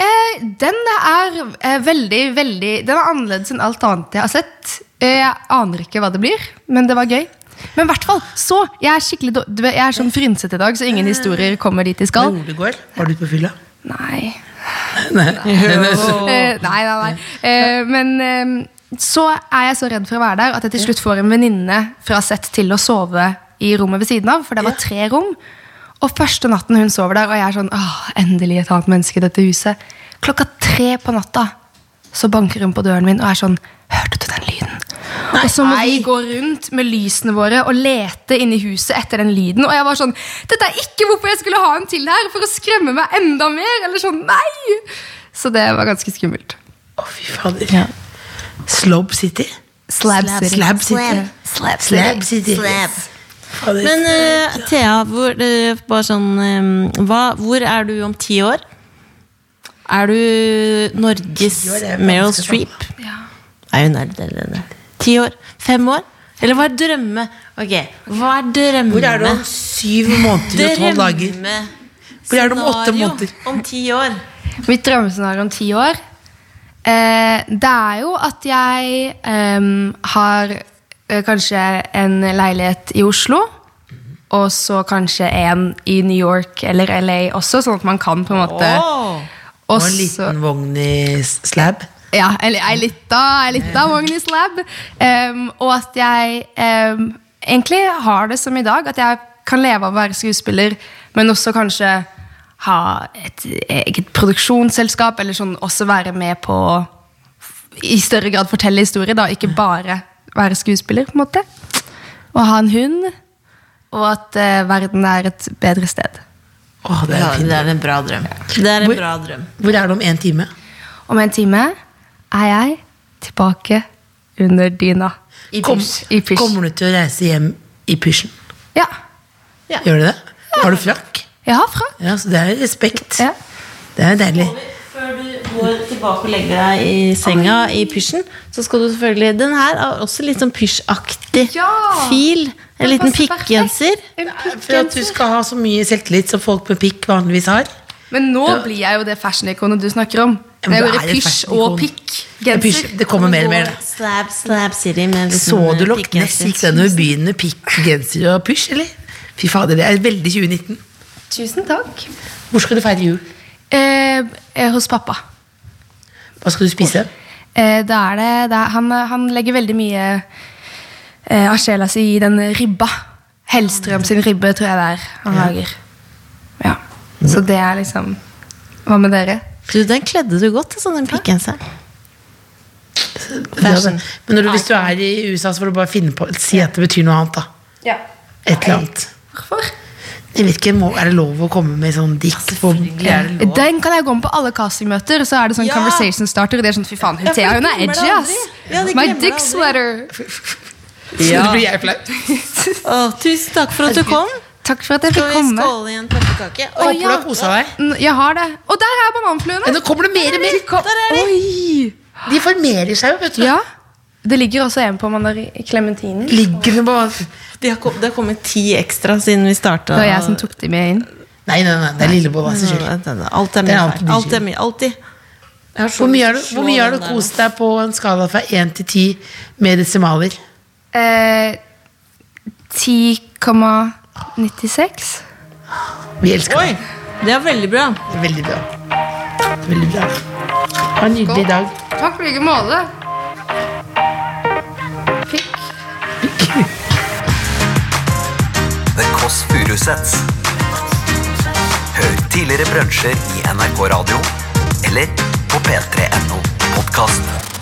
Speaker 4: Eh, den er eh, veldig, veldig Den er annerledes enn alt annet jeg har sett. Eh, jeg aner ikke hva det blir, men det var gøy. Men i hvert fall, så! Jeg er skikkelig då- du vet, Jeg er sånn frynsete i dag, så ingen historier kommer dit de
Speaker 2: Hva
Speaker 4: skal.
Speaker 2: gjorde du i går? Var du ute på fylla?
Speaker 4: Nei,
Speaker 2: Nei.
Speaker 4: eh, nei, nei, nei. Eh, Men eh, så er jeg så redd for å være der at jeg til slutt får en venninne fra sett til å sove i rommet ved siden av, for det var tre rom. Og første natten hun sover der, og jeg er sånn Åh, endelig et annet menneske i dette huset. Klokka tre på natta så banker hun på døren min og er sånn Hørte du den lyden? og så må vi gå rundt med lysene våre og lete inni huset etter den lyden. Og jeg var sånn Dette er ikke hvorfor jeg skulle ha en til her! For å skremme meg enda mer! Eller sånn, nei! Så det var ganske skummelt.
Speaker 2: Å, fy fader. Slope City?
Speaker 4: Slab City.
Speaker 2: Slab City.
Speaker 4: Slab City.
Speaker 2: Slab City. Fader.
Speaker 3: Men eh, Thea, hvor, eh, bare sånn, eh, hva, hvor er du om ti år? Er du Norges
Speaker 2: Ti år er jo
Speaker 3: Meryl
Speaker 2: vanskelig,
Speaker 3: Streep? Nei, hun er det, det, det. Ti år? Fem år? Eller hva er drømme? Ok, hva er drømme?
Speaker 2: Hvor er du om syv måneder og tolv dager? Hvor er du om åtte
Speaker 3: Drømmescenario
Speaker 2: måneder?
Speaker 3: Om ti år.
Speaker 4: Mitt drømmescenario om ti år eh, Det er jo at jeg em, har eh, kanskje en leilighet i Oslo. Og så kanskje en i New York eller LA også, sånn at man kan på en måte
Speaker 3: Åh.
Speaker 4: Og
Speaker 2: Og en
Speaker 4: så-
Speaker 2: liten vogn i s- slab?
Speaker 4: Ja, eller ei lita, ei lita Magnus Lab. Em, og at jeg em, egentlig har det som i dag, at jeg kan leve av å være skuespiller, men også kanskje ha et eget produksjonsselskap, eller sånn også være med på i større grad fortelle historier, da, ikke bare være skuespiller, på en måte. Og ha en hund. Og at eh, verden er et bedre sted.
Speaker 2: Åh, det er
Speaker 3: Ja,
Speaker 2: fint.
Speaker 3: det er en bra drøm. Det er en
Speaker 2: Hvor-
Speaker 3: bra drøm.
Speaker 2: Hvor er det om én time?
Speaker 4: Om en time er jeg tilbake under dyna.
Speaker 3: I
Speaker 2: Kom-
Speaker 3: pysj.
Speaker 4: I pysj.
Speaker 2: Kommer du til å reise hjem i pysjen?
Speaker 4: Ja.
Speaker 2: Gjør du det? Har du frakk?
Speaker 4: Jeg har frakk.
Speaker 2: Ja, så det er respekt.
Speaker 4: Ja.
Speaker 2: Det er deilig.
Speaker 3: Før du går tilbake og legger deg i senga i pysjen, så skal du selvfølgelig Den her er også litt sånn pysjaktig
Speaker 4: Ja!
Speaker 3: fil. En liten
Speaker 4: passer perfekt.
Speaker 3: pikkgenser.
Speaker 4: En
Speaker 2: For at du
Speaker 4: pikkgenser.
Speaker 2: skal ha så mye selvtillit som folk med pikk vanligvis har.
Speaker 4: Men nå blir jeg jo det fashion-ikonet du snakker om.
Speaker 2: Ja, men
Speaker 4: Det er
Speaker 2: du
Speaker 4: jo
Speaker 2: er et
Speaker 4: pysj
Speaker 2: fashion-ikon.
Speaker 4: og pikk. Genser.
Speaker 2: Pysj, Det kommer mer og mer. det.
Speaker 3: Slab, slab city med en liten
Speaker 2: Så du
Speaker 3: eh,
Speaker 2: Loch Ness
Speaker 3: pikkgenser.
Speaker 2: gikk denne byen med pikk, genser og pysj, eller? Fy fader, det er veldig 2019.
Speaker 4: Tusen takk.
Speaker 2: Hvor skal du feire jul?
Speaker 4: Eh, eh, hos pappa.
Speaker 2: Hva skal du spise?
Speaker 4: Eh, da er det, da, han, han legger veldig mye eh, av sjela si i den ribba. Hellstrøm sin ribbe, tror jeg det er han lager. Ja. Så det er liksom Hva med dere?
Speaker 3: Du, den kledde du godt, altså, den pikkgenseren. Fashion.
Speaker 2: Men når du, hvis du er i USA, så får du bare finne på Si at det betyr noe annet, da.
Speaker 4: Ja.
Speaker 2: Et eller annet.
Speaker 4: Hvorfor?
Speaker 2: Jeg vet ikke, må, Er det lov å komme med sånn dikt? på-
Speaker 4: Den kan jeg gå med på alle castingmøter. Så er det sånn
Speaker 3: Ja.
Speaker 4: conversation starter. Og det er sånn, fy faen, hun Thea, hun er
Speaker 3: glemmer det
Speaker 4: edgy, ass!
Speaker 3: aldri. Ja, de
Speaker 4: My
Speaker 3: glemmer det
Speaker 4: dick
Speaker 3: aldri.
Speaker 4: sweater!
Speaker 2: Så blir jeg flau.
Speaker 3: Å, tusen takk for at du kom.
Speaker 4: Takk for at jeg
Speaker 3: Skal
Speaker 4: fikk
Speaker 3: vi
Speaker 4: komme.
Speaker 3: skåle i en pepperkake? Oi,
Speaker 2: Håper du har kosa deg.
Speaker 4: N- Jeg har det. Og der er
Speaker 2: Men
Speaker 4: bananfluene!
Speaker 2: Nå kommer det mer og mer.
Speaker 3: der er de!
Speaker 4: Oi!
Speaker 2: De formerer seg jo, vet du.
Speaker 4: Ja. Det ligger også en på mandarin-klementinen.
Speaker 2: Ligger det bare
Speaker 3: Det har, kom, det har kommet ti ekstra siden vi starta.
Speaker 4: Det var jeg som tok de med inn.
Speaker 2: Nei, nei, nei, det er Lillebolla sin skyld.
Speaker 3: Alt er
Speaker 2: Det
Speaker 3: min
Speaker 2: er alltid
Speaker 3: feil.
Speaker 2: din
Speaker 3: Alt er
Speaker 2: skyld.
Speaker 3: min. Alltid.
Speaker 2: Hvor mye har du, hvor mye har du kost deg på en skala fra 1 til 10 med desimaler?
Speaker 4: Eh, 10,96.
Speaker 2: Vi elsker
Speaker 3: Oi!
Speaker 2: deg.
Speaker 3: Det er veldig bra.
Speaker 2: Veldig bra. Veldig bra. Ha en nydelig dag.
Speaker 4: Takk for like måte.
Speaker 1: The Kåss Furuseths. Hør tidligere brunsjer i NRK Radio eller på p3.no podkast.